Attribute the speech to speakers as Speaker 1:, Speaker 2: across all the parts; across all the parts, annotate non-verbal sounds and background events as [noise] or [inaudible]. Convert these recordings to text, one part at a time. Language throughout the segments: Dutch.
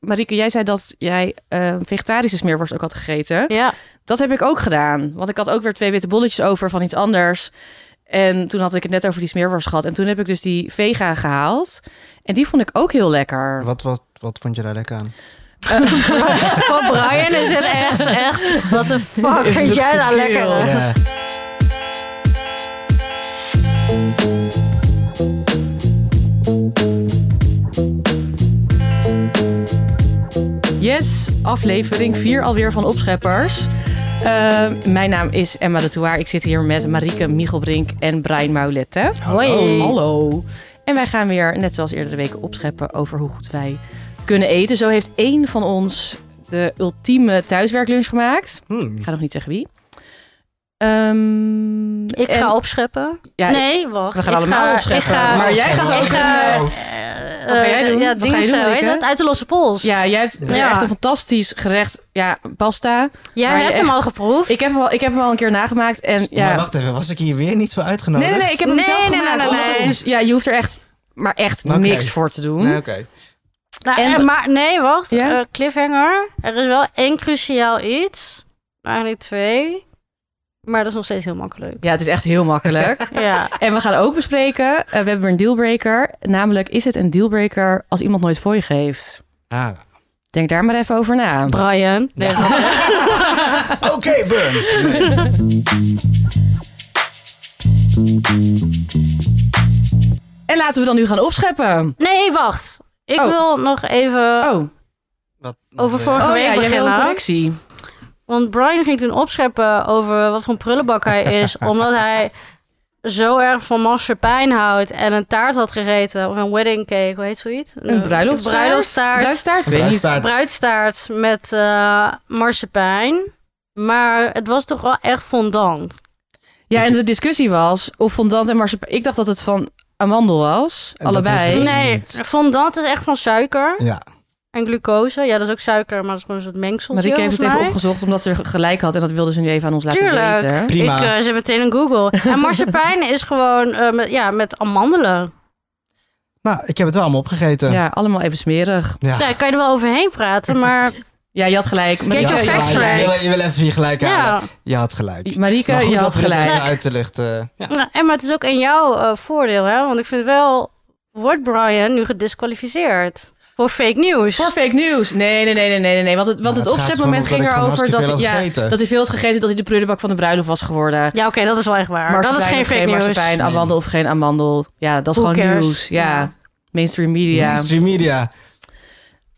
Speaker 1: Marieke, jij zei dat jij eh, vegetarische smeerworst ook had gegeten. [laughs]
Speaker 2: Ja.
Speaker 1: Dat heb ik ook gedaan. Want ik had ook weer twee witte bolletjes over van iets anders. En toen had ik het net over die smeerworst gehad. En toen heb ik dus die vega gehaald. En die vond ik ook heel lekker. Ehm,
Speaker 3: Wat, wat, wat vond je daar lekker aan?
Speaker 1: [laughs]
Speaker 2: Van Brian is het echt, echt. Wat de fuck vind jij nou lekker?
Speaker 1: Oh.
Speaker 2: hè?
Speaker 3: Ja.
Speaker 1: Yes, aflevering 4 alweer van Opscheppers. Eh, mijn naam is Emma de Touaar. Ik zit hier met Marieke Michelbrink en Brian Maulette.
Speaker 2: Hoi.
Speaker 1: Hallo. En wij gaan weer, net zoals eerdere weken, opscheppen over hoe goed wij kunnen eten. Zo heeft één van ons de ultieme thuiswerklunch gemaakt.
Speaker 3: Hmm.
Speaker 1: Ik ga nog niet zeggen wie. Ehm,
Speaker 2: Ik
Speaker 1: en-
Speaker 2: ga opscheppen.
Speaker 1: Ja,
Speaker 2: nee, wacht.
Speaker 1: we gaan
Speaker 2: Ik
Speaker 1: allemaal
Speaker 2: ga-
Speaker 1: opscheppen.
Speaker 2: ik ga-
Speaker 1: maar jij
Speaker 3: opscheppen.
Speaker 1: gaat
Speaker 2: ik
Speaker 1: ook
Speaker 2: ga-
Speaker 1: een, eh,
Speaker 2: eh,
Speaker 1: Wat ga jij
Speaker 2: eh,
Speaker 1: doen?
Speaker 2: Ja,
Speaker 1: Wat ga
Speaker 2: dingen
Speaker 1: je doen,
Speaker 2: zo, weet je
Speaker 1: Marieke?
Speaker 2: dat? Uit de losse pols.
Speaker 1: Ja, jij hebt
Speaker 2: Ja.
Speaker 1: echt een fantastisch gerecht. Ja, pasta.
Speaker 2: Jij
Speaker 1: Maar je
Speaker 2: hebt hem
Speaker 1: echt-
Speaker 2: al geproefd.
Speaker 1: Ik heb hem al, ik heb hem al een keer nagemaakt. En, ja.
Speaker 3: Maar wacht even, was ik hier weer niet voor
Speaker 1: Nee,
Speaker 3: uitgenodigd?
Speaker 1: nee, nee, ik heb hem
Speaker 2: Nee,
Speaker 1: zelf
Speaker 2: nee, nee,
Speaker 1: gemaakt.
Speaker 2: nee,
Speaker 1: Omdat het
Speaker 2: nee.
Speaker 1: Dus, ja, je hoeft er echt, maar echt
Speaker 3: Oké.
Speaker 1: niks voor te doen.
Speaker 3: Nee, oké.
Speaker 2: Nou,
Speaker 1: En-
Speaker 2: eh, maar nee, wacht.
Speaker 1: Ja?
Speaker 2: Eh, cliffhanger. Er is wel één cruciaal iets. Eigenlijk twee. Maar dat is nog steeds heel makkelijk.
Speaker 1: Ja, het is echt heel
Speaker 3: [laughs]
Speaker 1: makkelijk.
Speaker 2: Ja.
Speaker 1: en we gaan ook bespreken, eh, we hebben weer een dealbreaker. Namelijk, is het een dealbreaker als iemand nooit voor je geeft?
Speaker 3: Ah.
Speaker 1: Denk daar maar even over na.
Speaker 2: Brian. Nee, grapje.
Speaker 1: [laughs]
Speaker 3: Oké, Burn. Nee.
Speaker 1: En laten we dan nu gaan opscheppen.
Speaker 2: nee, wacht. Ik
Speaker 1: Oh.
Speaker 2: wil nog even...
Speaker 1: oh, oh
Speaker 3: Wat,
Speaker 2: Over
Speaker 3: eh,
Speaker 2: vorige-
Speaker 1: ja,
Speaker 2: ik
Speaker 1: jij
Speaker 2: begin
Speaker 1: wil een
Speaker 2: nou.
Speaker 1: correctie.
Speaker 2: Want Brian ging toen opscheppen over wat voor een prullenbak hij
Speaker 1: [laughs]
Speaker 2: is. omdat hij zo erg van marsepein houdt. En een taart had gegeten. Of een wedding cake, hoe heet zoiets?
Speaker 1: Een bruiloftstaart?
Speaker 2: bruiloftstaart.
Speaker 1: Bruidstaart, ik weet niet.
Speaker 3: bruidstaart.
Speaker 2: Bruidstaart met eh marsepein. Maar het was toch wel echt fondant.
Speaker 1: Ja, en de discussie was of fondant en marsepein. Ik dacht dat het van amandel was,
Speaker 3: En dat
Speaker 1: allebei.
Speaker 3: is het.
Speaker 2: Nee,
Speaker 3: niet.
Speaker 2: fondant is echt van suiker
Speaker 3: Ja,
Speaker 2: en glucose. Ja, dat is ook suiker, maar dat is gewoon een soort mengseltje.
Speaker 1: Marieke heeft het
Speaker 2: volgens
Speaker 1: even
Speaker 2: mij.
Speaker 1: opgezocht omdat ze gelijk had. En dat wilde ze nu even aan ons laten
Speaker 2: Tuurlijk.
Speaker 1: weten.
Speaker 3: prima.
Speaker 2: Ik eh, zit meteen in Google. En
Speaker 1: [laughs]
Speaker 2: marsepein is gewoon eh, met, ja, met amandelen.
Speaker 3: nou, ik heb het wel allemaal opgegeten.
Speaker 1: Ja, allemaal even smerig.
Speaker 3: Ja.
Speaker 2: Daar kan je er wel overheen praten,
Speaker 3: [laughs]
Speaker 2: maar
Speaker 1: Ja, je had gelijk.
Speaker 2: Kijk,
Speaker 1: Marieke,
Speaker 2: je facts
Speaker 3: je,
Speaker 2: right.
Speaker 3: wil, je wil even je gelijk halen.
Speaker 2: ja.
Speaker 3: Je had gelijk.
Speaker 1: Marieke,
Speaker 3: Maar goed
Speaker 1: je
Speaker 3: dat
Speaker 1: had
Speaker 3: we dit
Speaker 1: gelijk.
Speaker 3: even uit de lucht... eh, ja.
Speaker 2: Nou, En maar het is ook in jouw eh, voordeel, hè? Want ik vind wel, wordt Brian nu gedisqualificeerd voor fake news?
Speaker 1: Voor fake news. Nee, nee, nee, nee, nee, nee, nee. Want het, want
Speaker 3: Nou,
Speaker 1: het,
Speaker 3: het gaat
Speaker 1: opschepmoment
Speaker 3: gewoon
Speaker 1: ging
Speaker 3: omdat ik
Speaker 1: erover
Speaker 3: gewoon
Speaker 1: dat, hij- ja,
Speaker 3: hartstikke veel had gegeten.
Speaker 1: dat hij veel had gegeten dat hij de prullenbak van de bruiloft was geworden.
Speaker 2: Ja, oké, dat is wel echt waar. dat is
Speaker 1: Marsepein
Speaker 2: geen
Speaker 1: of
Speaker 2: fake
Speaker 1: geen
Speaker 2: news.
Speaker 1: marsepein, amandel of geen amandel. Ja, dat is
Speaker 2: Who
Speaker 1: gewoon
Speaker 2: cares?
Speaker 1: nieuws. Ja.
Speaker 2: Ja.
Speaker 1: Mainstream media.
Speaker 3: Mainstream media.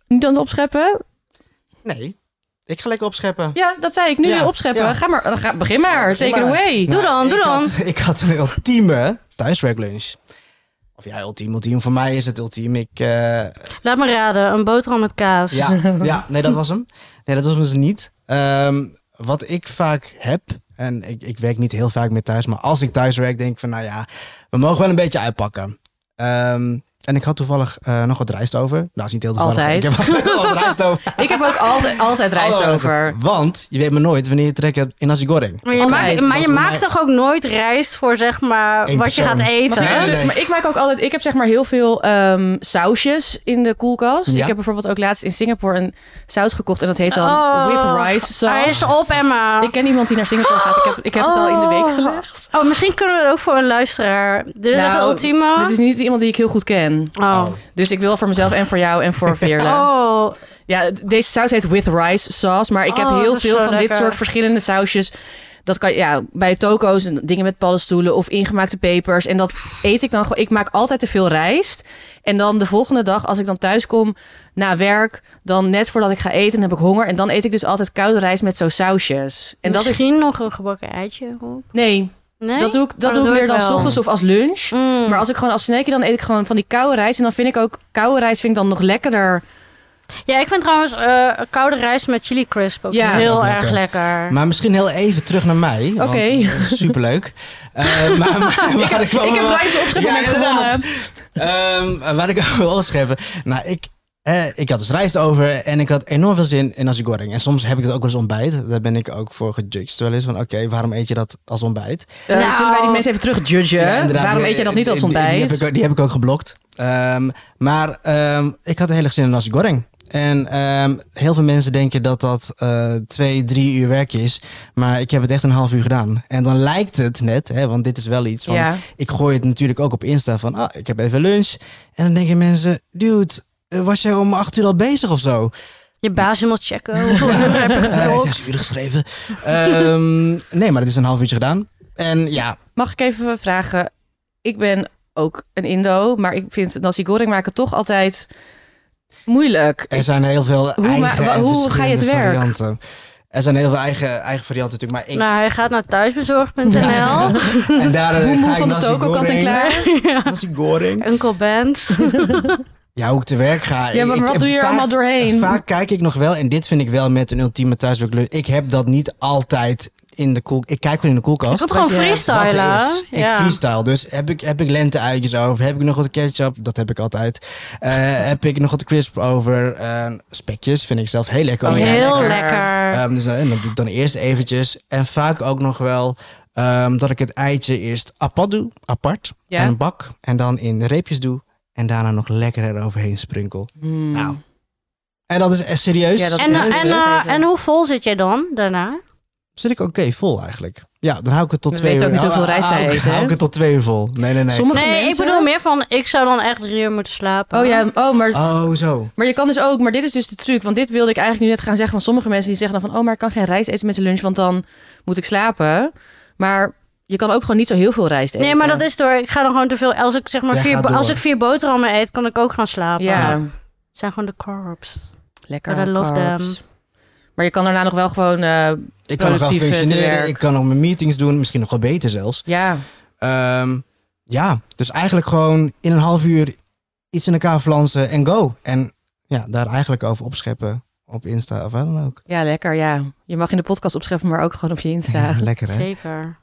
Speaker 1: Nu dan opscheppen?
Speaker 3: Nee, ik ga lekker opscheppen.
Speaker 1: Ja, dat zei ik. Nu
Speaker 3: Ja,
Speaker 1: opscheppen.
Speaker 3: ja.
Speaker 1: Ga maar, ga, begin maar.
Speaker 3: Begin
Speaker 1: Take it
Speaker 3: maar.
Speaker 1: away.
Speaker 2: Doe dan,
Speaker 3: ik
Speaker 2: doe dan.
Speaker 3: Had, [laughs] ik had een ultieme thuiswerklunch. Of ja, ultiem, ultiem. Voor mij is het ultiem. Ik, eh,
Speaker 2: Laat me raden, een boterham met kaas. [laughs]
Speaker 3: Ja, ja, nee, dat was hem. Nee, dat was hem dus niet. Ehm, wat ik vaak heb, en ik, ik werk niet heel vaak meer thuis, maar als ik thuis werk, denk ik van, nou ja, we mogen wel een beetje uitpakken. Ehm, en ik had toevallig eh, nog wat rijst over. Nou, dat is niet heel toevallig.
Speaker 1: Altijd.
Speaker 3: Ik [laughs] heb altijd wat rijst over.
Speaker 2: [laughs]
Speaker 1: Ik heb ook altijd, altijd rijst
Speaker 3: Altijd.
Speaker 1: over.
Speaker 3: Want je weet maar nooit wanneer je trek hebt in nasi goreng.
Speaker 2: Maar je,
Speaker 1: Altijd.
Speaker 2: maakt, maar
Speaker 3: Dat
Speaker 2: je
Speaker 3: is voor
Speaker 2: maakt
Speaker 3: mij-
Speaker 2: toch ook nooit rijst voor zeg maar
Speaker 3: Eén
Speaker 2: wat je
Speaker 3: persoon.
Speaker 2: gaat eten?
Speaker 1: Maar,
Speaker 3: Nee,
Speaker 1: ik-
Speaker 3: nee, nee.
Speaker 1: maar ik maak ook altijd. Ik heb zeg maar heel veel ehm, sausjes in de koelkast.
Speaker 3: Ja.
Speaker 1: Ik heb bijvoorbeeld ook laatst in Singapore een saus gekocht en dat heet dan
Speaker 2: Oh,
Speaker 1: with rice
Speaker 2: Hij
Speaker 1: sauce.
Speaker 2: is op, Emma.
Speaker 1: Ik ken iemand die naar Singapore gaat. Ik heb, ik heb het al in de week
Speaker 2: Oh.
Speaker 1: gelegd.
Speaker 2: Oh, misschien kunnen we het ook voor een luisteraar. Dit is
Speaker 1: Nou,
Speaker 2: echt een ultieme.
Speaker 1: Dit is niet iemand die ik heel goed ken.
Speaker 2: Oh.
Speaker 1: Dus ik wil voor mezelf en voor jou en
Speaker 2: [laughs]
Speaker 1: voor Veerle.
Speaker 2: Oh.
Speaker 1: Ja, d- deze saus heet with rice sauce. Maar ik heb
Speaker 2: Oh,
Speaker 1: heel
Speaker 2: dat is
Speaker 1: veel
Speaker 2: zo
Speaker 1: van dit
Speaker 2: lekker.
Speaker 1: soort verschillende sausjes. Dat kan ja, bij toko's en dingen met paddenstoelen of ingemaakte pepers. En dat eet ik dan gewoon. Ik maak altijd te veel rijst. En dan de volgende dag, als ik dan thuis kom na werk, dan net voordat ik ga eten, dan heb ik honger. En dan eet ik dus altijd koude rijst met zo'n sausjes. En dat is.
Speaker 2: misschien nog een gebakken eitje op.
Speaker 1: Nee,
Speaker 2: Nee?
Speaker 1: dat doe ik, dat
Speaker 2: Oh,
Speaker 1: doe ik meer dan
Speaker 2: wel.
Speaker 1: s ochtends of als lunch.
Speaker 2: Mm.
Speaker 1: Maar als ik gewoon als snackje, dan eet ik gewoon van die koude rijst. En dan vind ik ook koude rijst vind ik dan nog lekkerder.
Speaker 2: Ja, ik vind trouwens eh, koude rijst met chili crisp ook
Speaker 1: Ja.
Speaker 3: Dat is
Speaker 2: heel
Speaker 3: ook
Speaker 2: erg
Speaker 3: lekker.
Speaker 2: lekker.
Speaker 3: Maar misschien heel even terug naar mij. want
Speaker 1: Oké.
Speaker 3: dat is Superleuk. Eh,
Speaker 1: [laughs]
Speaker 3: maar, maar, maar ik, kwam
Speaker 1: ik heb
Speaker 3: wel-
Speaker 1: rijst opschepmoment
Speaker 3: Oh. Ja, inderdaad.
Speaker 1: gewonnen.
Speaker 3: Ehm, waar ik over wil opschrijven. Nou, ik, eh, ik had dus rijst over en ik had enorm veel zin in nasi goreng. En soms heb ik dat ook wel eens ontbijt. Daar ben ik ook voor gejudged wel eens. Van oké, waarom eet je dat als ontbijt?
Speaker 1: Eh,
Speaker 2: Nou.
Speaker 1: Zullen wij die mensen even terugjudgen?
Speaker 3: Ja, inderdaad.
Speaker 1: Waarom
Speaker 3: Die-
Speaker 1: eet je dat niet als
Speaker 3: die- die-
Speaker 1: ontbijt?
Speaker 3: Die, heb, ik, ook- die heb ik ook geblokt. Ehm, maar ehm, ik had heel erg zin in nasi goreng. En ehm, heel veel mensen denken dat dat eh, twee, drie uur werk is. Maar ik heb het echt een half uur gedaan. En dan lijkt het net, hè, want dit is wel iets van...
Speaker 1: ja.
Speaker 3: Ik gooi het natuurlijk ook op Insta van, ah, ik heb even lunch. En dan denken mensen, dude, eh, was jij om acht uur al bezig of
Speaker 1: [laughs]
Speaker 3: zo?
Speaker 2: Je baas helemaal checken. Hoeveel uur heb je
Speaker 3: Eh,
Speaker 2: geklopt?
Speaker 3: zes uur geschreven. Ehm, nee, maar het is een half uurtje gedaan. En ja,
Speaker 1: Mag ik even vragen? Ik ben ook een Indo, maar ik vind Nasi Goreng maken toch altijd moeilijk.
Speaker 3: er zijn heel veel
Speaker 1: Hoe ma-
Speaker 3: eigen
Speaker 1: wa-
Speaker 3: en
Speaker 1: hoe ga je
Speaker 3: verschillende
Speaker 1: het werk?
Speaker 3: varianten. Er zijn heel veel eigen, eigen varianten natuurlijk, maar ik...
Speaker 2: Nou, hij gaat naar thuisbezorgd.nl.
Speaker 3: [laughs] Ja. En daar eh,
Speaker 1: Boem, boem
Speaker 3: ga ik
Speaker 1: van de
Speaker 3: nasi
Speaker 1: toko, kant en
Speaker 3: goreng-
Speaker 1: klaar.
Speaker 3: Nasi goreng.
Speaker 2: Uncle
Speaker 3: [laughs]
Speaker 2: Band.
Speaker 3: Ja, hoe ik te werk ga.
Speaker 1: Ja, maar
Speaker 3: Ik-
Speaker 1: wat
Speaker 3: ik-
Speaker 1: doe je er
Speaker 3: vaak-
Speaker 1: allemaal doorheen?
Speaker 3: Vaak kijk ik nog wel, en dit vind ik wel met een ultieme thuiswerklunch. Ik heb dat niet altijd in de koel. Ik kijk gewoon in de
Speaker 2: Ik
Speaker 3: koelkast.
Speaker 2: had gewoon
Speaker 1: Wat je-
Speaker 2: freestylen.
Speaker 3: Wat
Speaker 2: hè?
Speaker 3: er is. Ik freestyle. Dus heb ik, heb ik lente-uitjes over? Heb ik nog wat ketchup? Dat heb ik altijd. Eh, heb ik nog wat crisp over? Eh, spekjes vind ik zelf heel lekker.
Speaker 1: Oh,
Speaker 3: om te
Speaker 1: heel
Speaker 3: maken.
Speaker 2: Heel
Speaker 1: lekker.
Speaker 2: lekker.
Speaker 3: Ehm, dus, eh, en dat doe ik dan eerst eventjes. En vaak ook nog wel ehm, dat ik het eitje eerst apart doe. Apart.
Speaker 1: Ja.
Speaker 3: En bak. En dan in reepjes doe. En daarna nog lekker eroverheen sprinkel.
Speaker 1: Hmm.
Speaker 3: Nou. En dat is echt serieus.
Speaker 1: Ja, dat-
Speaker 2: en,
Speaker 1: Mensen.
Speaker 2: en, eh, en hoe vol zit jij dan daarna?
Speaker 3: Zit ik oké vol eigenlijk. Ja, dan hou ik het tot
Speaker 1: We
Speaker 3: twee uur.
Speaker 1: weten ook niet
Speaker 3: hou-
Speaker 1: hoeveel rijst
Speaker 3: hou
Speaker 1: wij
Speaker 3: ik-
Speaker 1: eten,
Speaker 3: Hou
Speaker 1: hè?
Speaker 3: ik het tot twee uur vol. Nee, nee, nee.
Speaker 1: Sommige
Speaker 2: Nee,
Speaker 1: mensen...
Speaker 2: ik bedoel meer van, ik zou dan echt drie uur moeten slapen.
Speaker 1: Oh ja, oh, maar,
Speaker 3: Oh, zo.
Speaker 1: maar je kan dus ook... Maar dit is dus de truc. Want dit wilde ik eigenlijk nu net gaan zeggen van sommige mensen die zeggen dan van... Oh, maar ik kan geen rijst eten met de lunch, want dan moet ik slapen. Maar je kan ook gewoon niet zo heel veel rijst eten.
Speaker 2: Nee, maar dat is door. Ik ga dan gewoon te veel. Als ik zeg maar
Speaker 3: Jij
Speaker 2: vier,
Speaker 3: gaat
Speaker 2: bo-
Speaker 3: door.
Speaker 2: als ik vier boterhammen eet, kan ik ook gaan slapen.
Speaker 1: Ja,
Speaker 2: Het zijn gewoon de carbs.
Speaker 1: lekker.
Speaker 2: But I love
Speaker 1: carbs. Maar je kan daarna nog wel gewoon... eh,
Speaker 3: Ik kan nog wel
Speaker 1: Productief, eh, te
Speaker 3: functioneren.
Speaker 1: werk.
Speaker 3: Ik kan nog mijn meetings doen. Misschien nog wel beter zelfs.
Speaker 1: ja,
Speaker 3: Ehm, ja, dus eigenlijk gewoon in een half uur iets in elkaar flansen en go. En ja, daar eigenlijk over opscheppen op Insta of waar dan ook.
Speaker 1: ja, lekker, ja. Je mag in de podcast opscheppen, maar ook gewoon op je Insta.
Speaker 3: Ja, [laughs] lekker hè?
Speaker 2: Zeker.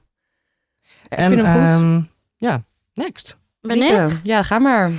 Speaker 1: en,
Speaker 3: En
Speaker 1: vind hem goed.
Speaker 3: ehm, ja, next.
Speaker 2: Ben ik?
Speaker 1: Rieke, Ja, ga maar.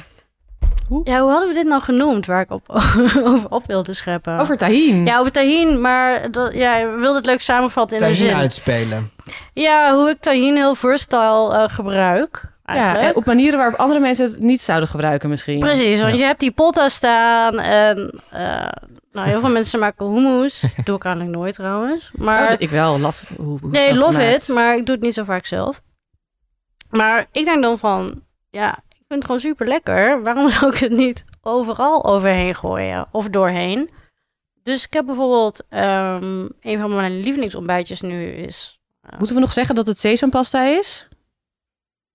Speaker 2: Ja, hoe hadden we dit nou genoemd waar ik op, [laughs] over op wilde scheppen?
Speaker 1: Oh. Over tahin.
Speaker 2: Ja, over tahin, maar dat, ja, je wilde het leuk samenvatten in een
Speaker 3: Tajin
Speaker 2: zin.
Speaker 3: uitspelen.
Speaker 2: Ja, hoe ik tahin heel versatile eh, gebruik.
Speaker 1: Ja,
Speaker 2: Eigenlijk.
Speaker 1: en op manieren waarop andere mensen het niet zouden gebruiken misschien.
Speaker 2: Precies, want
Speaker 3: Ja.
Speaker 2: je hebt die potta staan en eh, nou,
Speaker 1: [laughs]
Speaker 2: heel veel mensen maken hummus. Doe ik eigenlijk nooit trouwens. Maar
Speaker 1: Oh, d- ik wel, love. Hoe, hoe
Speaker 2: Nee,
Speaker 1: zelf
Speaker 2: love
Speaker 1: gemaakt.
Speaker 2: it, maar ik doe het niet zo vaak zelf. Maar ik denk dan van, ja, ik vind het gewoon super lekker. Waarom [laughs] zou ik het niet overal overheen gooien of doorheen? Dus ik heb bijvoorbeeld ehm, een van mijn lievelingsontbijtjes nu is.
Speaker 1: Moeten we nog zeggen dat het sesampasta is?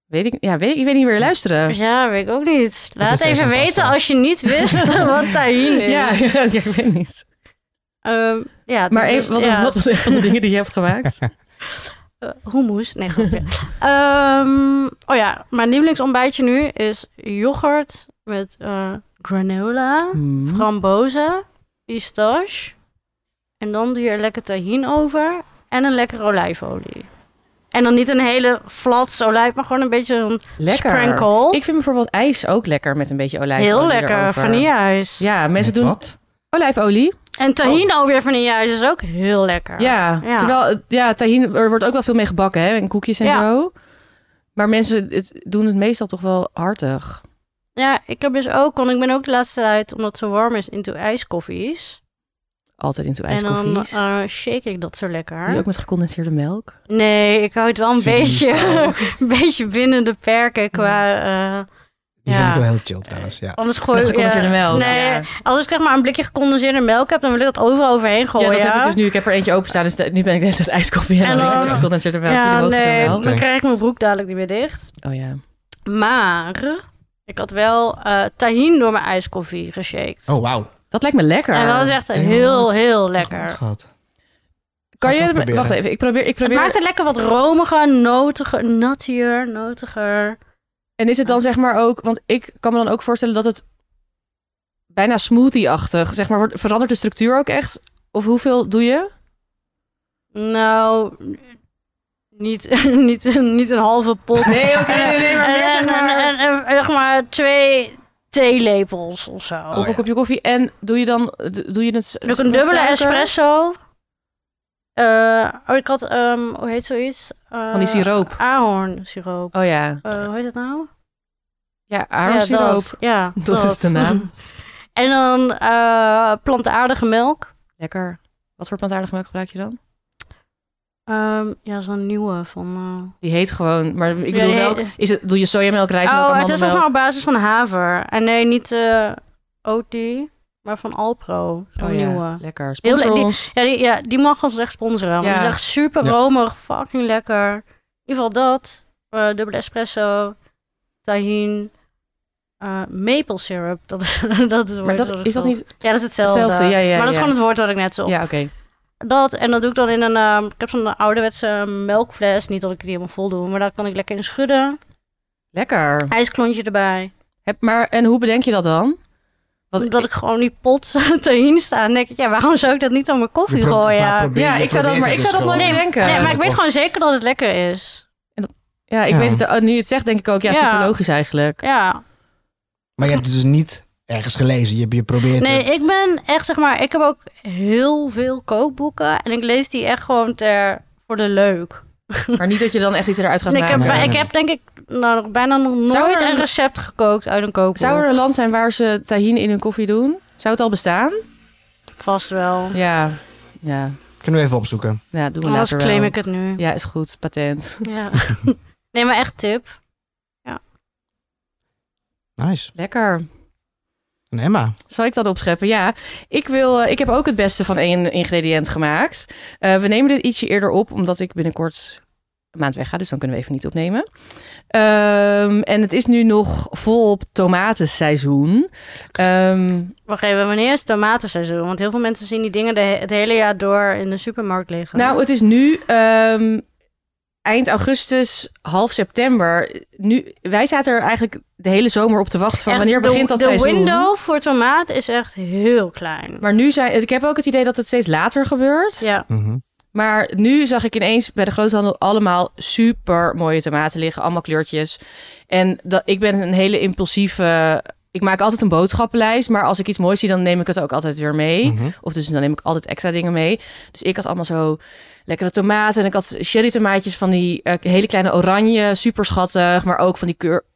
Speaker 1: Weet ik, ja, weet, ik- ik weet niet meer luisteren.
Speaker 2: Ja, weet ik ook niet. Laat
Speaker 3: is
Speaker 2: even
Speaker 3: sesampasta.
Speaker 2: weten als je
Speaker 1: [laughs]
Speaker 2: niet wist [laughs] wat tahin is.
Speaker 1: Ja, [laughs] ja, ik weet niet.
Speaker 2: Ehm, ja het
Speaker 1: Maar
Speaker 2: is
Speaker 1: even,
Speaker 2: dus-
Speaker 1: wat,
Speaker 2: ja.
Speaker 1: wat was een van de dingen die je hebt gemaakt?
Speaker 2: Eh, hummus. Nee, grapje. [laughs] Ehm, oh ja, mijn lievelingsontbijtje nu is yoghurt met eh, granola,
Speaker 1: Hmm.
Speaker 2: frambozen, pistache. En dan doe je er lekker tahin over en een lekkere olijfolie. En dan niet een hele flats olijf, maar gewoon een beetje een
Speaker 1: Lekker.
Speaker 2: sprinkle.
Speaker 1: Ik vind bijvoorbeeld ijs ook lekker met een beetje olijfolie
Speaker 2: Heel lekker,
Speaker 1: erover.
Speaker 2: vanilleijs.
Speaker 1: Ja, mensen
Speaker 3: Met
Speaker 1: doen
Speaker 3: wat?
Speaker 1: olijfolie.
Speaker 2: En tahin over weer vanilleijs is ook heel lekker.
Speaker 1: Ja,
Speaker 2: Ja.
Speaker 1: terwijl eh, ja, tahin, er wordt ook wel veel mee gebakken hè, en koekjes en
Speaker 2: Ja.
Speaker 1: zo. Maar mensen het, doen het meestal toch wel hartig.
Speaker 2: Ja, ik heb dus ook, want ik ben ook de laatste tijd, omdat het zo warm is, into ijskoffies.
Speaker 1: Altijd in zo'n
Speaker 2: En dan
Speaker 1: ijskoffies.
Speaker 2: eh, shake ik dat zo lekker.
Speaker 1: Die ook met gecondenseerde melk.
Speaker 2: Nee, ik hou het wel een
Speaker 3: Vind je die
Speaker 2: beetje,
Speaker 3: stijl?
Speaker 2: [laughs] een beetje binnen de perken qua... eh,
Speaker 1: [laughs]
Speaker 3: Die
Speaker 2: Ja.
Speaker 3: vind ik wel heel chill trouwens, ja.
Speaker 2: anders
Speaker 1: Met
Speaker 2: gooi ik...
Speaker 1: gecondenseerde
Speaker 2: ja,
Speaker 1: melk.
Speaker 2: Nee,
Speaker 1: ja.
Speaker 2: als ik zeg maar een blikje gecondenseerde melk heb, dan wil ik dat overal overheen
Speaker 1: Ja,
Speaker 2: gooien.
Speaker 1: dat heb ik dus nu. Ik heb er eentje openstaan, dus de- nu ben ik de hele tijd ijskoffie
Speaker 2: En
Speaker 1: aan het
Speaker 2: dan-
Speaker 1: drinken. Gecondenseerde melk.
Speaker 2: Ja,
Speaker 1: Ja,
Speaker 2: nee,
Speaker 1: wel.
Speaker 2: dan
Speaker 3: Thanks.
Speaker 2: krijg ik mijn broek dadelijk niet meer dicht.
Speaker 1: Oh ja.
Speaker 2: Maar ik had wel eh tahin door mijn ijskoffie geshaked.
Speaker 3: Oh, wauw. Oh,
Speaker 1: Dat lijkt me lekker.
Speaker 2: En dat is echt
Speaker 3: Heel
Speaker 2: heel,
Speaker 3: goed.
Speaker 2: heel
Speaker 3: Goed
Speaker 1: [laughs]
Speaker 2: lekker.
Speaker 3: gehad.
Speaker 1: kan
Speaker 3: ga ik ook
Speaker 1: je...
Speaker 3: proberen.
Speaker 1: Wacht even, ik probeer... Ik
Speaker 2: Het
Speaker 1: probeer
Speaker 2: maakt het lekker wat romiger, notiger, nattier, notiger.
Speaker 1: En is het dan zeg maar ook... Want ik kan me dan ook voorstellen dat het bijna smoothie-achtig... Zeg maar, wordt, verandert de structuur ook echt? Of hoeveel doe je?
Speaker 2: Nou, niet, [laughs] niet, niet een halve pot.
Speaker 1: Nee, oké, nee, nee, maar
Speaker 2: [laughs]
Speaker 1: meer,
Speaker 2: En-
Speaker 1: zeg maar-
Speaker 2: en- en- en- zeg maar twee theelepels of zo.
Speaker 1: op een kopje koffie. En doe je dan... Doe je het...
Speaker 2: Doe ik een dubbele
Speaker 1: suiker?
Speaker 2: espresso. Eh, oh, ik had, ehm, hoe heet zoiets? Eh,
Speaker 1: Van die siroop.
Speaker 2: Ahornsiroop.
Speaker 1: Oh ja.
Speaker 2: Eh, hoe heet dat nou?
Speaker 1: Ja, aardappelsiroop. [laughs]
Speaker 2: Ja, dat, ja,
Speaker 1: dat is de naam.
Speaker 2: [laughs] En dan eh, plantaardige melk.
Speaker 1: Lekker. Wat voor plantaardige melk gebruik je dan?
Speaker 2: Ehm, ja, zo'n nieuwe van... eh,
Speaker 1: Die heet gewoon, maar ik
Speaker 2: Ja,
Speaker 1: bedoel
Speaker 2: die
Speaker 1: welk?
Speaker 2: heet-
Speaker 1: Is het, doe je sojamelk, rijstmelk,
Speaker 2: Oh, het is
Speaker 1: amandelmelk?
Speaker 2: volgens mij op basis van haver. En nee, niet eh OT, maar van Alpro. Zo'n
Speaker 1: Oh ja,
Speaker 2: nieuwe.
Speaker 1: lekker.
Speaker 2: Heel le-
Speaker 1: Sponsor ons.
Speaker 2: Ja die, ja, die mag ons echt sponsoren. want
Speaker 1: Ja.
Speaker 2: Het is echt super
Speaker 3: Ja.
Speaker 2: romig, fucking lekker. In ieder geval dat. eh dubbele espresso, tahin, eh maple syrup. Dat is, [laughs] dat is het
Speaker 1: Maar
Speaker 2: woord
Speaker 1: dat,
Speaker 2: ik
Speaker 1: is dat
Speaker 2: wil.
Speaker 1: niet...
Speaker 2: Ja, dat is hetzelfde.
Speaker 1: hetzelfde? Ja, ja,
Speaker 2: maar dat is
Speaker 1: ja.
Speaker 2: gewoon het woord dat ik net zo
Speaker 1: Ja, oké.
Speaker 2: Dat, en dat doe ik dan in een... ehm, ik heb zo'n ouderwetse melkfles. Niet dat ik die helemaal vol doe, maar daar kan ik lekker in schudden.
Speaker 1: Lekker.
Speaker 2: IJsklontje erbij.
Speaker 1: Heb, maar, en hoe bedenk je dat dan? Wat-
Speaker 2: Omdat ik gewoon die pot [laughs] tahin sta. En denk ik, ja, waarom zou ik dat niet aan mijn koffie
Speaker 3: Je pro-
Speaker 2: gooien?
Speaker 3: maar probeer-
Speaker 1: Ja,
Speaker 3: je
Speaker 1: ik zou dat-
Speaker 3: probeert
Speaker 1: maar
Speaker 3: het
Speaker 1: ik zou
Speaker 3: dus
Speaker 1: dat nooit
Speaker 3: gewoon.
Speaker 1: denken.
Speaker 2: nee, maar ik
Speaker 3: dat
Speaker 2: weet
Speaker 3: klopt.
Speaker 2: gewoon zeker dat het lekker is.
Speaker 1: Ja, ik
Speaker 3: Ja.
Speaker 1: weet het. eh, Nu je het zegt, denk ik ook, ja,
Speaker 2: Ja.
Speaker 1: super logisch eigenlijk.
Speaker 2: Ja,
Speaker 3: Maar je hebt het dus niet ergens gelezen. Je, je probeert
Speaker 2: Nee,
Speaker 3: het.
Speaker 2: ik ben echt, zeg maar, ik heb ook heel veel kookboeken. En ik lees die echt gewoon ter, voor de leuk.
Speaker 1: Maar niet dat je dan echt iets eruit gaat
Speaker 2: En ik,
Speaker 1: maken.
Speaker 2: heb,
Speaker 3: Nee,
Speaker 2: ik
Speaker 3: nee.
Speaker 2: heb denk ik nou, nog bijna nog
Speaker 1: Zou
Speaker 2: nooit
Speaker 1: er een-
Speaker 2: een recept gekookt uit een kookboek.
Speaker 1: Zou er een land zijn waar ze tahine in hun koffie doen? Zou het al bestaan?
Speaker 2: Vast wel.
Speaker 1: Ja, ja.
Speaker 3: Kunnen we even opzoeken.
Speaker 1: ja doen we
Speaker 2: Anders
Speaker 1: later wel.
Speaker 2: claim ik het nu.
Speaker 1: Ja, is goed. Patent.
Speaker 2: Ja. [laughs] nee, maar echt tip.
Speaker 3: Nice.
Speaker 1: Lekker.
Speaker 3: En Emma.
Speaker 1: Zal ik dat opscheppen? Ja. Ik, wil, eh, ik heb ook het beste van één ingrediënt gemaakt. Eh, we nemen dit ietsje eerder op, omdat ik binnenkort een maand weg ga. Dus dan kunnen we even niet opnemen. Ehm, en het is nu nog volop tomatenseizoen. Ehm
Speaker 2: Wacht even, wanneer is het tomatenseizoen? Want heel veel mensen zien die dingen de, he- het hele jaar door in de supermarkt liggen.
Speaker 1: Nou, het is nu ehm, eind augustus, half september. Nu, wij zaten er eigenlijk de hele zomer op te wachten van
Speaker 2: Echt,
Speaker 1: wanneer
Speaker 2: de-
Speaker 1: begint dat
Speaker 2: de
Speaker 1: seizoen.
Speaker 2: window voor tomaat is echt heel klein.
Speaker 1: Maar nu zijn, ik heb ook het idee dat het steeds later gebeurt.
Speaker 2: Ja.
Speaker 3: Mhm.
Speaker 1: Maar nu zag ik ineens bij de groothandel allemaal super mooie tomaten liggen, allemaal kleurtjes. En dat, ik ben een hele impulsieve. Ik maak altijd een boodschappenlijst, maar als ik iets moois zie, dan neem ik het ook altijd weer mee.
Speaker 3: Mhm.
Speaker 1: Of dus dan neem ik altijd extra dingen mee. Dus ik had allemaal zo lekkere tomaten. En ik had cherry tomaatjes van die eh, hele kleine oranje, super schattig. Maar ook van die keur...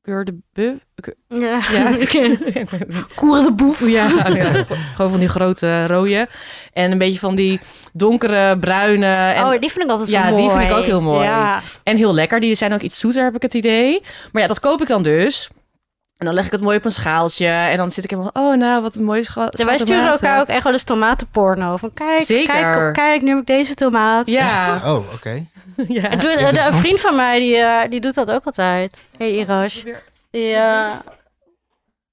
Speaker 1: Keur de buf? Keur- [laughs]
Speaker 2: Ja. [laughs]
Speaker 1: Ja. ik weet het niet.
Speaker 2: Koer de boef.
Speaker 1: Ja, ja, gewoon van die grote rode. En een beetje van die donkere, bruine. En,
Speaker 2: oh, die vind ik altijd zo
Speaker 1: Ja,
Speaker 2: mooi.
Speaker 1: die vind ik ook heel mooi.
Speaker 2: Ja.
Speaker 1: en heel lekker. Die zijn ook iets zoeter, heb ik het idee. Maar ja, dat koop ik dan dus. En dan leg ik het mooi op een schaaltje. En dan zit ik helemaal, oh nou, wat een mooie schat.
Speaker 2: Ja, wij
Speaker 1: schattige
Speaker 2: sturen
Speaker 1: tomaten.
Speaker 2: elkaar ook echt wel eens tomatenporno. Van kijk,
Speaker 1: Zeker.
Speaker 2: kijk, kijk, nu heb ik deze tomaat.
Speaker 3: [laughs]
Speaker 1: Ja,
Speaker 3: Oh, oké.
Speaker 1: ja.
Speaker 2: En toen- eh, de- een vriend van mij, die, eh, die doet dat ook altijd. Hé, hey, Irash. Die eh,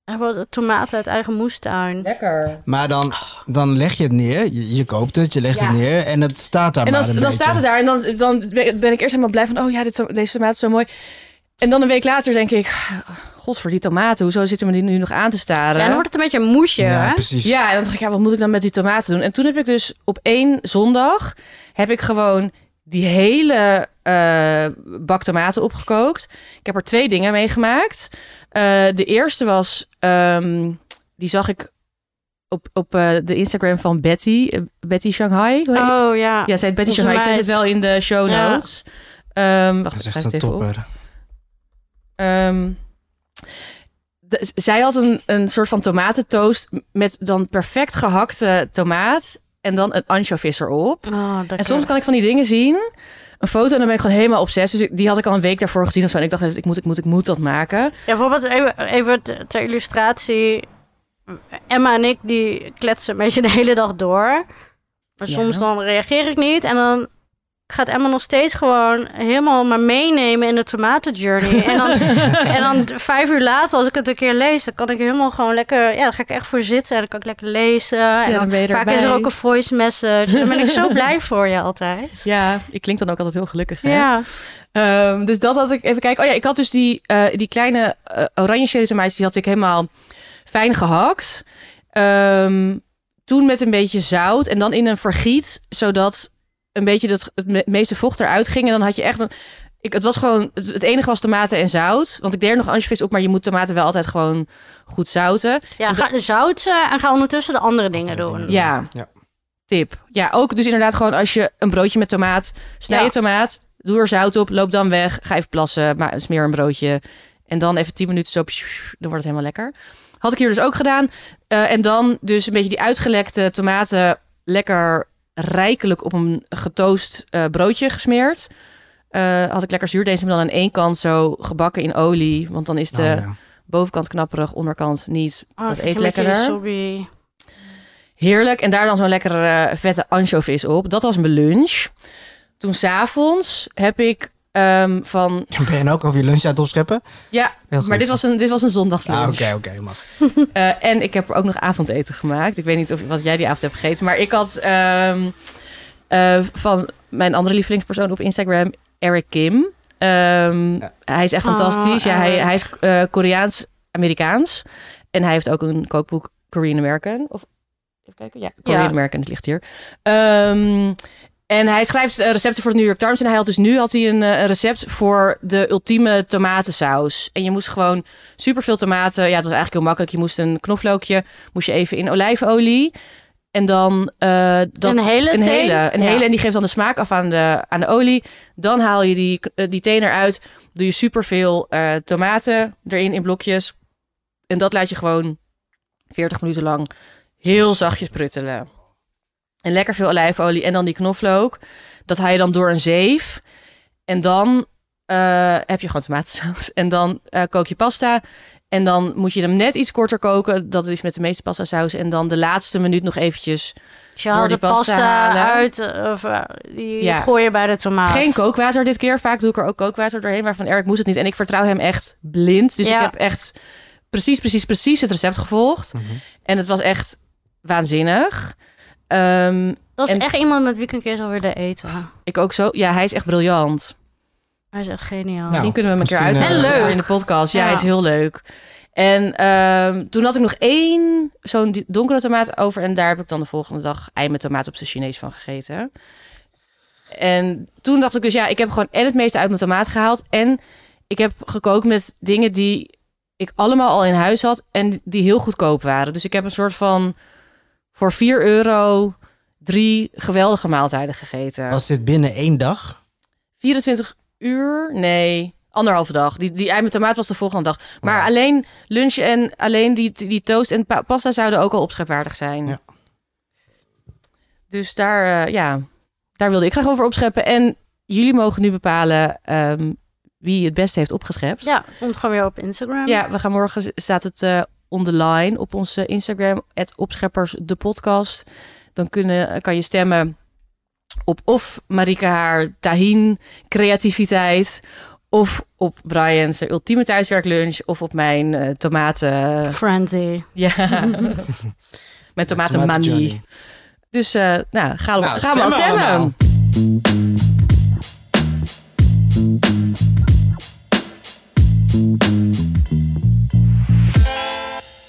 Speaker 2: hij wordt tomaten uit eigen moestuin.
Speaker 1: Lekker.
Speaker 3: Maar dan, dan leg je het neer. Je, je koopt het, je legt
Speaker 1: Ja.
Speaker 3: het neer en het staat daar
Speaker 1: En
Speaker 3: maar
Speaker 1: dan,
Speaker 3: een
Speaker 1: dan
Speaker 3: beetje.
Speaker 1: staat het daar en dan, dan ben ik eerst helemaal blij van... oh ja, dit, to- deze tomaat is zo mooi. En dan een week later denk ik... godver, die tomaten, hoezo zitten me die nu nog aan te
Speaker 2: Ja,
Speaker 1: staren?
Speaker 2: dan wordt het een beetje een moesje.
Speaker 3: Ja,
Speaker 2: hè?
Speaker 3: precies.
Speaker 1: Ja, en dan dacht ik, ja, wat moet ik dan met die tomaten doen? En toen heb ik dus op één zondag... heb ik gewoon die hele eh, bak tomaten opgekookt. Ik heb er twee dingen mee gemaakt. Eh, de eerste was... ehm, die zag ik op, op eh, de Instagram van Betty. eh, Betty Shanghai. hoe heet-
Speaker 2: Oh ja.
Speaker 1: ja, zei het Betty
Speaker 2: Onze
Speaker 1: Shanghai. Ik zet
Speaker 2: meid.
Speaker 1: het wel in de show
Speaker 2: Ja.
Speaker 1: notes. Ehm, wacht,
Speaker 3: Dat
Speaker 1: ik
Speaker 3: is
Speaker 1: schrijf
Speaker 3: echt
Speaker 1: het
Speaker 3: een
Speaker 1: even op.
Speaker 3: topper.
Speaker 1: Ehm, de- zij had een, een soort van tomatentoast met dan perfect gehakte tomaat en dan een anchovis erop.
Speaker 2: Oh, dat
Speaker 1: En soms kan ik van die dingen zien, een foto, en dan ben ik gewoon helemaal obsessief. Dus ik- die had ik al een week daarvoor gezien of zo. En ik dacht, ik moet, ik moet, ik moet dat maken.
Speaker 2: Ja, bijvoorbeeld even, even te- ter illustratie. Emma en ik die kletsen een beetje de hele dag door. Maar
Speaker 1: Ja.
Speaker 2: soms dan reageer ik niet. En dan gaat Emma nog steeds gewoon helemaal maar meenemen in de
Speaker 1: [laughs]
Speaker 2: tomatenjourney. en, dan, en dan vijf uur later, als ik het een keer lees, dan kan ik helemaal gewoon lekker... Ja, dan ga ik echt voor zitten en dan kan ik lekker lezen. En
Speaker 1: Ja,
Speaker 2: dan
Speaker 1: dan ben je
Speaker 2: vaak
Speaker 1: erbij.
Speaker 2: is er ook een voice message. Daar ben ik
Speaker 1: [laughs]
Speaker 2: zo blij voor je altijd.
Speaker 1: Ja, ik klink dan ook altijd heel gelukkig. Hè?
Speaker 2: Ja,
Speaker 1: Ehm, dus dat had ik even kijken. Oh ja, ik had dus die, eh, die kleine eh, oranje cherry tomaatjes, die had ik helemaal fijn gehakt. Ehm, toen met een beetje zout en dan in een vergiet, zodat een beetje dat, het me- meeste vocht eruit ging. En dan had je echt een... Ik, het was gewoon, het, het enige was tomaten en zout. Want ik deed er nog anchovies op, maar je moet tomaten wel altijd gewoon goed zouten.
Speaker 2: ja ga zouten en ga ondertussen de andere dingen doen.
Speaker 1: Ja.
Speaker 3: Ja.
Speaker 1: Tip. Ja, ook dus inderdaad gewoon als je een broodje met tomaat, snij
Speaker 2: Ja.
Speaker 1: je tomaat, doe er zout op, loop dan weg, ga even plassen, maar smeer een broodje en dan even 10 minuten zo, pssst, dan wordt het helemaal lekker. Had ik hier dus ook gedaan. Eh, en dan dus een beetje die uitgelekte tomaten lekker rijkelijk op een getoast eh, broodje gesmeerd. Eh, had ik lekker zuurdees, maar dan aan één kant zo gebakken in olie. Want dan is de
Speaker 3: Oh, ja.
Speaker 1: bovenkant knapperig, onderkant niet.
Speaker 2: Oh,
Speaker 1: dat
Speaker 2: vind
Speaker 1: eet
Speaker 2: je met die
Speaker 1: lekkerder.
Speaker 2: soggy-
Speaker 1: Heerlijk. En daar dan zo'n lekkere eh, vette anchovis op. Dat was mijn lunch. Toen s'avonds heb ik ehm, van...
Speaker 3: [laughs] Ben je nou ook over je lunch aan het opscheppen?
Speaker 1: Ja,
Speaker 3: Heel goed.
Speaker 1: maar dit was dus een, dit was een zondagslunch.
Speaker 3: Ah, oké, oké, mag.
Speaker 1: Eh, en ik heb er ook nog avondeten gemaakt. Ik weet niet of, wat jij die avond hebt gegeten. Maar ik had ehm, eh, van mijn andere lievelingspersoon op Instagram, Eric Kim. Ehm,
Speaker 3: Ja.
Speaker 1: Hij is echt
Speaker 2: Oh,
Speaker 1: fantastisch. ja, hij,
Speaker 2: Eric.
Speaker 1: hij is eh, Koreaans-Amerikaans. En hij heeft ook een kookboek Korean American. Of, even kijken. Ja, Korean
Speaker 2: Ja.
Speaker 1: American, het ligt hier. Ehm, en hij schrijft eh, recepten voor de New York Times. En hij had dus nu had hij een, eh, een recept voor de ultieme tomatensaus. En je moest gewoon superveel tomaten. Ja, het was eigenlijk heel makkelijk. Je moest een knoflookje, moest je even in olijfolie. En dan eh, dat...
Speaker 2: een hele
Speaker 1: Een
Speaker 2: teen?
Speaker 1: hele, een
Speaker 2: Ja.
Speaker 1: hele. En die geeft dan de smaak af aan de, aan de olie. Dan haal je die, eh, die teen eruit. Doe je superveel eh tomaten erin in blokjes. En dat laat je gewoon 40 minuten lang heel zachtjes pruttelen. En lekker veel olijfolie. En dan die knoflook. Dat haal je dan door een zeef. En dan eh, heb je gewoon tomatensaus. [laughs] En dan eh, kook je pasta. En dan moet je hem net iets korter koken. Dat is met de meeste pasta saus. En en dan de laatste minuut nog eventjes
Speaker 2: Dus je
Speaker 1: Door
Speaker 2: haalt de
Speaker 1: die pasta
Speaker 2: pasta
Speaker 1: halen.
Speaker 2: uit, eh, of eh, die
Speaker 1: Ja.
Speaker 2: gooi je bij de tomaat.
Speaker 1: Geen kookwater dit keer. Vaak doe ik er ook kookwater doorheen. Maar van Erik moest het niet. En ik vertrouw hem echt blind. Dus
Speaker 2: Ja.
Speaker 1: ik heb echt precies, precies, precies het recept gevolgd.
Speaker 3: Mhm.
Speaker 1: En het was echt waanzinnig. Ehm,
Speaker 2: Dat is
Speaker 1: En-
Speaker 2: echt iemand met wie ik een keer zou willen eten.
Speaker 1: ik ook zo. Ja, hij is echt briljant.
Speaker 2: Hij is echt geniaal.
Speaker 3: Nou,
Speaker 1: Misschien kunnen we hem een keer
Speaker 3: misschien,
Speaker 1: uitnodigen
Speaker 2: eh, En leuk.
Speaker 1: in de podcast. Ja,
Speaker 2: Ja.
Speaker 1: hij is heel leuk. En ehm, toen had ik nog één zo'n di- donkere tomaat over. En daar heb ik dan de volgende dag ei met tomaat op zijn Chinees van gegeten. En toen dacht ik dus, ja, ik heb gewoon en het meeste uit mijn tomaat gehaald. En ik heb gekookt met dingen die ik allemaal al in huis had. En die heel goedkoop waren. Dus ik heb een soort van voor 4 euro drie geweldige maaltijden gegeten.
Speaker 3: Was dit binnen één dag?
Speaker 1: 24 uur? Nee, anderhalve dag. Die, die ei met tomaat was de volgende dag. Maar
Speaker 3: Ja.
Speaker 1: alleen lunch en alleen die, die toast en pa- pasta zouden ook al opschepwaardig zijn.
Speaker 3: Ja.
Speaker 1: Dus daar, eh, ja, daar wilde ik graag over opscheppen. En jullie mogen nu bepalen ehm, wie het beste heeft opgeschept.
Speaker 2: Ja, komt gewoon weer op Instagram.
Speaker 1: Ja, we gaan morgen, z- staat het eh on the line op onze Instagram, het opscheppers de podcast. Dan kunnen, eh, kan je stemmen op of Marike haar tahin creativiteit, of op Brian's ultieme thuiswerklunch, of op mijn eh, tomaten... [laughs]
Speaker 2: Frenzy.
Speaker 1: Ja, mijn tomatenmanie.
Speaker 3: Johnny.
Speaker 1: Dus eh, nou, gaan we,
Speaker 3: Nou,
Speaker 1: gaan we al stemmen.
Speaker 3: allemaal.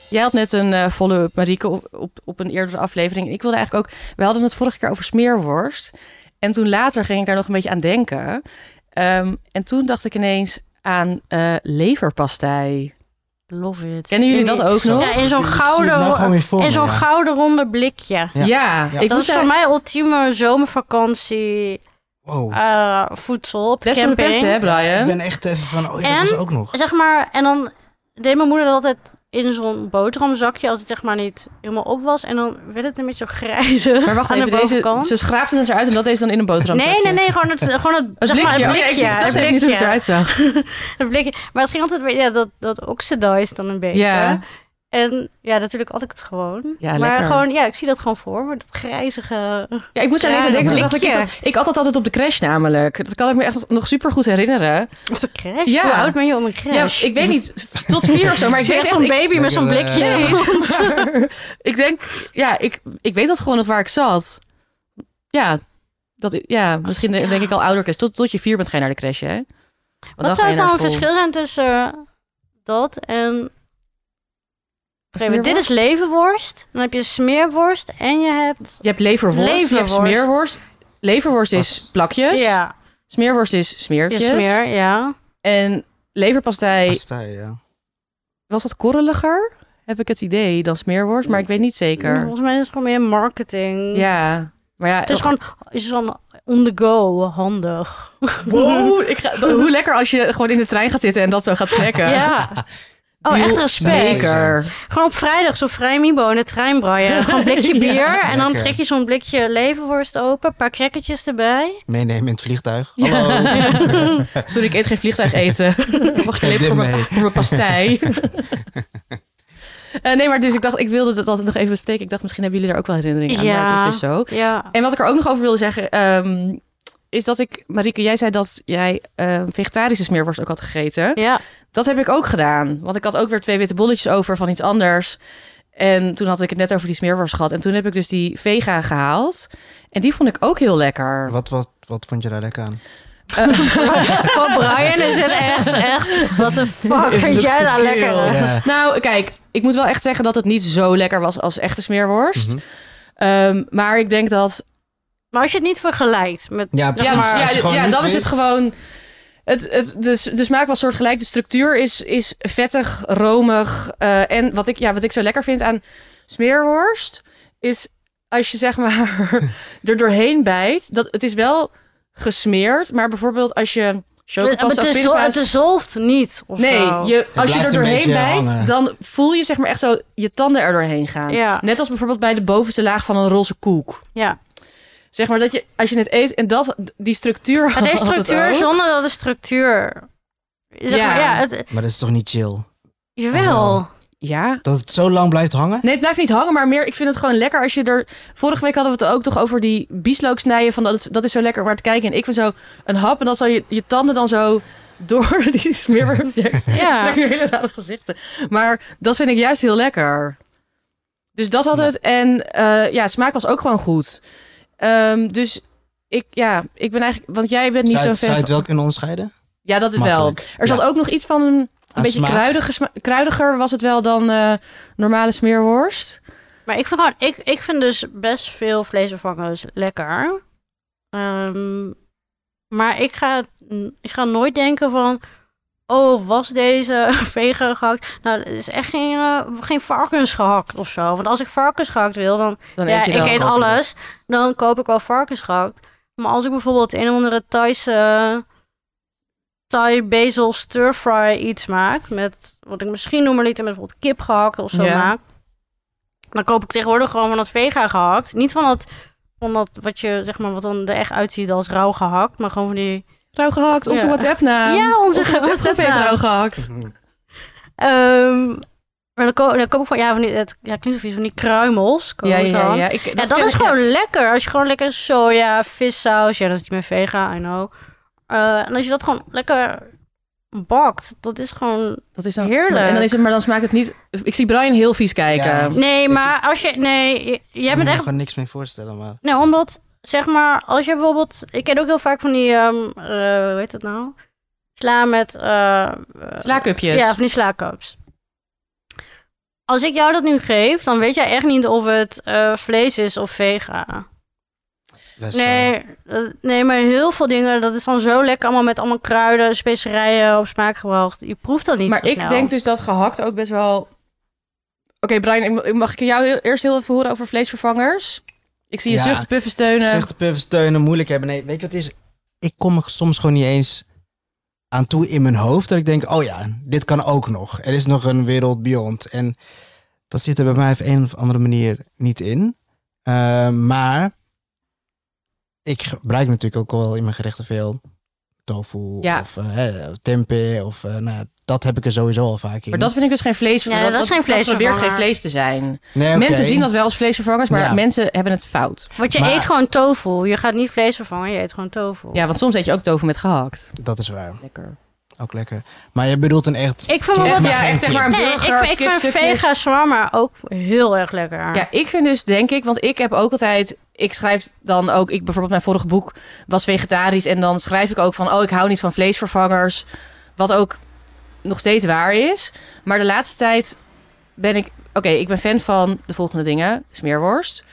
Speaker 1: Jij had net een eh, follow-up, Marieke, op, op, op een eerdere aflevering. Ik wilde eigenlijk ook... We hadden het vorige keer over smeerworst. En toen later ging ik daar nog een beetje aan denken. Ehm, en toen dacht ik ineens aan eh leverpastei.
Speaker 2: Love it.
Speaker 1: Kennen jullie
Speaker 2: In
Speaker 1: dat
Speaker 2: die-
Speaker 1: ook nog?
Speaker 2: Ja, in zo'n
Speaker 3: Ik zie het nou gewoon
Speaker 2: gouden,
Speaker 3: weer voor me,
Speaker 2: in zo'n
Speaker 3: ja.
Speaker 2: gouden ronde blikje.
Speaker 1: Ja,
Speaker 3: Ja.
Speaker 1: ik
Speaker 2: dat
Speaker 1: moest
Speaker 2: is voor mij ultieme zomervakantie
Speaker 3: Wow.
Speaker 2: eh, voedsel op de
Speaker 1: Best van de
Speaker 2: camping.
Speaker 1: pesten, hè,
Speaker 3: Ik
Speaker 1: Brian?
Speaker 3: ben echt even van, oh ja,
Speaker 2: En?
Speaker 3: dat was ook nog.
Speaker 2: Zeg maar, en dan deed mijn moeder dat altijd in zo'n boterhamzakje als het zeg maar niet helemaal op was. En dan werd het een beetje zo grijze
Speaker 1: Maar wacht
Speaker 2: [laughs] aan
Speaker 1: even,
Speaker 2: de
Speaker 1: deze,
Speaker 2: bovenkant.
Speaker 1: ze schraapten het eruit en dat is dan in een boterham.
Speaker 2: Nee, nee, nee, gewoon het,
Speaker 1: [laughs]
Speaker 2: gewoon het,
Speaker 1: Het
Speaker 2: zeg maar,
Speaker 1: blikje.
Speaker 2: het
Speaker 1: Oh, ja, ik
Speaker 2: blikje.
Speaker 1: wist
Speaker 2: het
Speaker 1: even niet hoe het
Speaker 2: blikje.
Speaker 1: eruit zag.
Speaker 2: Het blikje. Maar het ging altijd weer, ja, dat, dat oxidized dan een beetje.
Speaker 1: Ja.
Speaker 2: En ja, natuurlijk had ik het gewoon.
Speaker 1: Ja,
Speaker 2: maar
Speaker 1: lekker.
Speaker 2: gewoon, ja, ik zie dat gewoon voor me. Dat grijzige.
Speaker 1: Ja, ik moest daar
Speaker 2: Ja,
Speaker 1: ineens aan denken.
Speaker 2: dat
Speaker 1: Toen dacht ik,
Speaker 2: blikje.
Speaker 1: is dat- ik had dat altijd op de crash namelijk. Dat kan ik me echt nog super goed herinneren.
Speaker 2: Of de crash.
Speaker 1: Ja.
Speaker 2: Hoe oud ben je om een
Speaker 1: Ja,
Speaker 2: crash?
Speaker 1: ik weet niet, f- tot vier of zo, maar ik
Speaker 2: Je
Speaker 1: weet
Speaker 2: bent
Speaker 1: echt...
Speaker 2: zo'n
Speaker 1: ik-
Speaker 2: baby met zo'n
Speaker 3: Lekker,
Speaker 2: blikje.
Speaker 3: eh,
Speaker 1: Nee, maar [laughs] ik denk, ja, ik, ik weet dat gewoon nog waar ik zat. Ja, dat, ja misschien
Speaker 2: ja.
Speaker 1: denk ik al ouderklas. Tot, tot je vier bent ga je naar de crash, hè? Want dan
Speaker 2: Wat
Speaker 1: ga
Speaker 2: zou
Speaker 1: je
Speaker 2: het nou
Speaker 1: naar
Speaker 2: een
Speaker 1: school.
Speaker 2: verschil zijn tussen eh, dat en... Oké, maar dit
Speaker 1: Smeerworst?
Speaker 2: is levenworst. Dan heb je smeerworst en je hebt...
Speaker 1: Je hebt leverworst, je hebt
Speaker 2: Leverworst.
Speaker 1: smeerworst. Leverworst is
Speaker 3: Was-
Speaker 1: plakjes.
Speaker 2: Ja,
Speaker 1: Smeerworst is
Speaker 2: je
Speaker 1: Dus? smeertjes.
Speaker 2: smeer, ja.
Speaker 1: En leverpastei,
Speaker 3: Pasta, ja.
Speaker 1: was dat korreliger? Heb ik het idee dan smeerworst, maar ik weet niet zeker.
Speaker 2: Volgens mij is het gewoon meer marketing.
Speaker 1: Ja, maar ja. oh.
Speaker 2: Het is gewoon is gewoon on the go, handig.
Speaker 1: [laughs] Wow, ik ga, hoe lekker als je gewoon in de trein gaat zitten en dat zo gaat snacken.
Speaker 2: Ja, Oh, echt respect.
Speaker 1: Zeker.
Speaker 2: Gewoon op vrijdag zo vrij Mibo in de
Speaker 1: [laughs]
Speaker 2: trein braaien. Gewoon een blikje
Speaker 1: Ja.
Speaker 2: bier. En dan
Speaker 3: Lekker.
Speaker 2: trek je zo'n blikje levenworst open. Een paar crackertjes erbij.
Speaker 3: Meenemen in het vliegtuig.
Speaker 1: Ja.
Speaker 3: Hallo.
Speaker 1: [laughs] Sorry, ik eet geen vlees vliegtuig
Speaker 3: [laughs]
Speaker 1: eten. Ik mag geen leven
Speaker 3: Neem dit
Speaker 1: voor mijn,
Speaker 3: mee.
Speaker 1: voor mijn
Speaker 3: [laughs]
Speaker 1: pastei. Eh, nee, maar dus ik dacht, ik wilde dat altijd nog even bespreken. Ik dacht, misschien hebben jullie daar ook wel herinneringen aan. Maar
Speaker 2: Ja.
Speaker 1: dat is dus zo.
Speaker 2: Ja.
Speaker 1: En wat ik er ook nog over wilde zeggen, ehm, is dat ik, Marieke, jij zei dat jij ehm, vegetarische smeerworst ook had gegeten. [laughs]
Speaker 2: Ja.
Speaker 1: Dat heb ik ook gedaan. Want ik had ook weer twee witte bolletjes over van iets anders. En toen had ik het net over die smeerworst gehad. En toen heb ik dus die vega gehaald. En die vond ik ook heel lekker.
Speaker 3: Wat, wat, wat vond je daar lekker aan?
Speaker 2: Van Brian is het echt, echt. Wat de fuck
Speaker 1: It
Speaker 2: vind
Speaker 1: looks
Speaker 2: jij daar
Speaker 1: good
Speaker 2: lekker?
Speaker 1: girl.
Speaker 2: aan?
Speaker 3: Ja.
Speaker 1: Nou, kijk, ik moet wel echt zeggen dat het niet zo lekker was als echte smeerworst.
Speaker 3: Mhm.
Speaker 1: Ehm, maar ik denk dat.
Speaker 2: Maar als je het niet vergelijkt met...
Speaker 3: Ja, precies.
Speaker 1: ja,
Speaker 2: maar-
Speaker 1: maar,
Speaker 3: Als
Speaker 1: ja,
Speaker 3: je gewoon
Speaker 1: ja,
Speaker 3: niet
Speaker 1: dan is het
Speaker 3: wist-
Speaker 1: gewoon. Het, het, dus, de, s- de smaak was soortgelijk. De structuur is, is vettig, romig. eh, en wat ik, ja, wat ik zo lekker vind aan smeerworst. is als je zeg maar [laughs] er doorheen bijt. Dat, het is wel gesmeerd. Maar bijvoorbeeld als je.
Speaker 2: Het,
Speaker 1: Chocopasta of
Speaker 2: is zo-
Speaker 1: pindapaas-
Speaker 2: het is zolft niet of zo.
Speaker 1: Nee, je, als je
Speaker 3: blijft
Speaker 1: er
Speaker 3: een
Speaker 1: doorheen
Speaker 3: beetje
Speaker 1: bijt,
Speaker 3: hangen.
Speaker 1: dan voel je zeg maar echt zo je tanden er doorheen gaan.
Speaker 2: Ja.
Speaker 1: Net als bijvoorbeeld bij de bovenste laag van een roze koek. [laughs]
Speaker 2: Ja.
Speaker 1: Zeg maar dat je, als je het eet en dat, die structuur.
Speaker 2: Het is
Speaker 1: had
Speaker 2: structuur
Speaker 1: ook.
Speaker 2: zonder dat het structuur... Zeg
Speaker 1: Ja.
Speaker 2: maar, ja het,
Speaker 3: Maar dat is toch niet chill?
Speaker 2: jawel.
Speaker 1: Ja.
Speaker 3: Dat het zo lang blijft hangen?
Speaker 1: Nee, het blijft niet hangen, maar meer. Ik vind het gewoon lekker als je er. Vorige week hadden we het ook toch over die bieslook snijden. Van dat, dat is zo lekker om naar te kijken. En ik vind zo een hap en dan zal je, je tanden dan zo [laughs] door die smeer.
Speaker 2: Ja.
Speaker 1: Ja. Ik nu hele rare gezichten. Maar dat vind ik juist heel lekker. Dus dat had
Speaker 3: Ja.
Speaker 1: het. En eh, ja, smaak was ook gewoon goed. Ehm, dus ik, ja, ik ben eigenlijk... Want jij bent niet
Speaker 3: zou,
Speaker 1: zo'n
Speaker 3: je- zou
Speaker 1: fan
Speaker 3: je het
Speaker 1: van-
Speaker 3: wel kunnen onderscheiden?
Speaker 1: Ja, dat is wel.
Speaker 3: Makkelijk.
Speaker 1: Er zat
Speaker 3: Ja.
Speaker 1: ook nog iets van een, een
Speaker 3: Aan
Speaker 1: beetje
Speaker 3: smaak. [laughs]
Speaker 1: kruidige sma- kruidiger was het wel dan eh, normale smeerworst.
Speaker 2: Maar ik vind gewoon, ik, ik vind dus best veel vleesvervangers lekker. Ehm, maar ik ga, ik ga nooit denken van, oh, was deze [laughs] vegan gehakt? Nou, het is echt geen, eh, geen varkens gehakt of zo. Want als ik varkens gehakt wil, dan,
Speaker 1: Dan
Speaker 2: ja,
Speaker 1: eet je
Speaker 2: ik
Speaker 1: dat.
Speaker 2: eet
Speaker 3: Koop je
Speaker 2: alles. Dan koop ik wel varkens gehakt. Maar als ik bijvoorbeeld een of andere Thaise eh, Thai basil stir fry iets maak met wat ik misschien normaliter met bijvoorbeeld kip gehakt of zo
Speaker 1: Ja.
Speaker 2: maak, dan koop ik tegenwoordig gewoon van dat vega gehakt. Niet van dat van dat wat je zeg maar wat dan er echt uitziet als rauw gehakt, maar gewoon van die.
Speaker 1: Rauw gehakt, onze
Speaker 2: Ja.
Speaker 1: WhatsApp naam.
Speaker 2: Ja, onze
Speaker 1: WhatsApp heeft
Speaker 2: WhatsApp-naam.
Speaker 1: rauw gehakt.
Speaker 2: Ehm, maar dan koop, dan koop ik van ja van die het ja klinkt of iets van die kruimels. koop
Speaker 1: Ja,
Speaker 2: ik
Speaker 1: ja, ja.
Speaker 2: dan.
Speaker 1: ja. Ik,
Speaker 2: Ja, dat
Speaker 1: ken
Speaker 2: is
Speaker 1: ik,
Speaker 2: gewoon lekker. Als je gewoon lekker soja, vissaus... Ja, dat is niet meer vega, I know. Eh, en als je dat gewoon lekker bakt, dat is gewoon...
Speaker 1: Dat is dan
Speaker 2: Heerlijk.
Speaker 1: En dan is het, maar dan smaakt het niet. Ik zie Brian heel vies kijken.
Speaker 3: Ja.
Speaker 2: Nee, maar als je... Nee, j- jij
Speaker 3: Ik kan
Speaker 2: bent
Speaker 3: me
Speaker 2: echt...
Speaker 3: gewoon niks meer voorstellen, maar...
Speaker 2: Nee, omdat, zeg maar, als je bijvoorbeeld... Ik ken ook heel vaak van die... ehm, eh, hoe heet dat nou? Sla met... eh, eh,
Speaker 1: Slaakupjes.
Speaker 2: Ja, van die slaakkoops. Als ik jou dat nu geef, dan weet jij echt niet of het eh, vlees is of vega.
Speaker 3: dat is, eh,
Speaker 2: Nee, eh, nee, maar heel veel dingen, dat is dan zo lekker allemaal met allemaal kruiden, specerijen op smaak gebracht. Je proeft dat niet
Speaker 1: maar
Speaker 2: zo
Speaker 1: ik
Speaker 2: snel.
Speaker 1: denk dus dat gehakt ook best wel. Oké, Brian, ik ma- mag ik jou heel- eerst heel even horen over vleesvervangers? Ik zie je
Speaker 3: Ja.
Speaker 1: zucht, puffen, steunen.
Speaker 3: Zuchten, puffen, steunen, moeilijk hebben. Nee, weet je wat het is? Ik kom er soms gewoon niet eens aan toe in mijn hoofd dat ik denk, oh ja, dit kan ook nog. Er is nog een wereld beyond. En dat zit er bij mij op een of andere manier niet in. Eh, maar ik gebruik natuurlijk ook wel in mijn gerechten veel tofu
Speaker 1: Ja.
Speaker 3: of eh, hè, tempeh of eh, nou, ja, dat heb ik er sowieso al vaak in.
Speaker 1: Maar dat vind ik dus geen vlees.
Speaker 2: Ja, dat is geen
Speaker 1: probeert geen
Speaker 2: vleesvervanger.
Speaker 1: vlees te zijn.
Speaker 3: Nee, oké.
Speaker 1: Mensen zien dat wel als vleesvervangers, maar
Speaker 3: Ja.
Speaker 1: mensen hebben het fout.
Speaker 2: Want je
Speaker 3: Maar-
Speaker 2: eet gewoon tofu. Je gaat niet vlees vervangen, je eet gewoon tofu.
Speaker 1: Ja, want soms eet je ook tofu met gehakt.
Speaker 3: Dat is waar.
Speaker 1: Lekker.
Speaker 3: Ook lekker. Maar je bedoelt een echt...
Speaker 2: Ik vind
Speaker 3: Kip,
Speaker 2: bijvoorbeeld...
Speaker 3: maar
Speaker 1: ja,
Speaker 3: geen
Speaker 1: echt zeg maar een
Speaker 2: Nee, ik,
Speaker 1: burger
Speaker 2: vind-
Speaker 1: of
Speaker 2: ik vind
Speaker 1: kipstukjes.
Speaker 2: vega shawarma ook heel erg lekker.
Speaker 1: Ja, ik vind dus, denk ik, want ik heb ook altijd. Ik schrijf dan ook, ik bijvoorbeeld mijn vorige boek was vegetarisch. En dan schrijf ik ook van, oh, ik hou niet van vleesvervangers. Wat ook nog steeds waar is. Maar de laatste tijd ben ik, oké, ik ben fan van de volgende dingen. Smeerworst,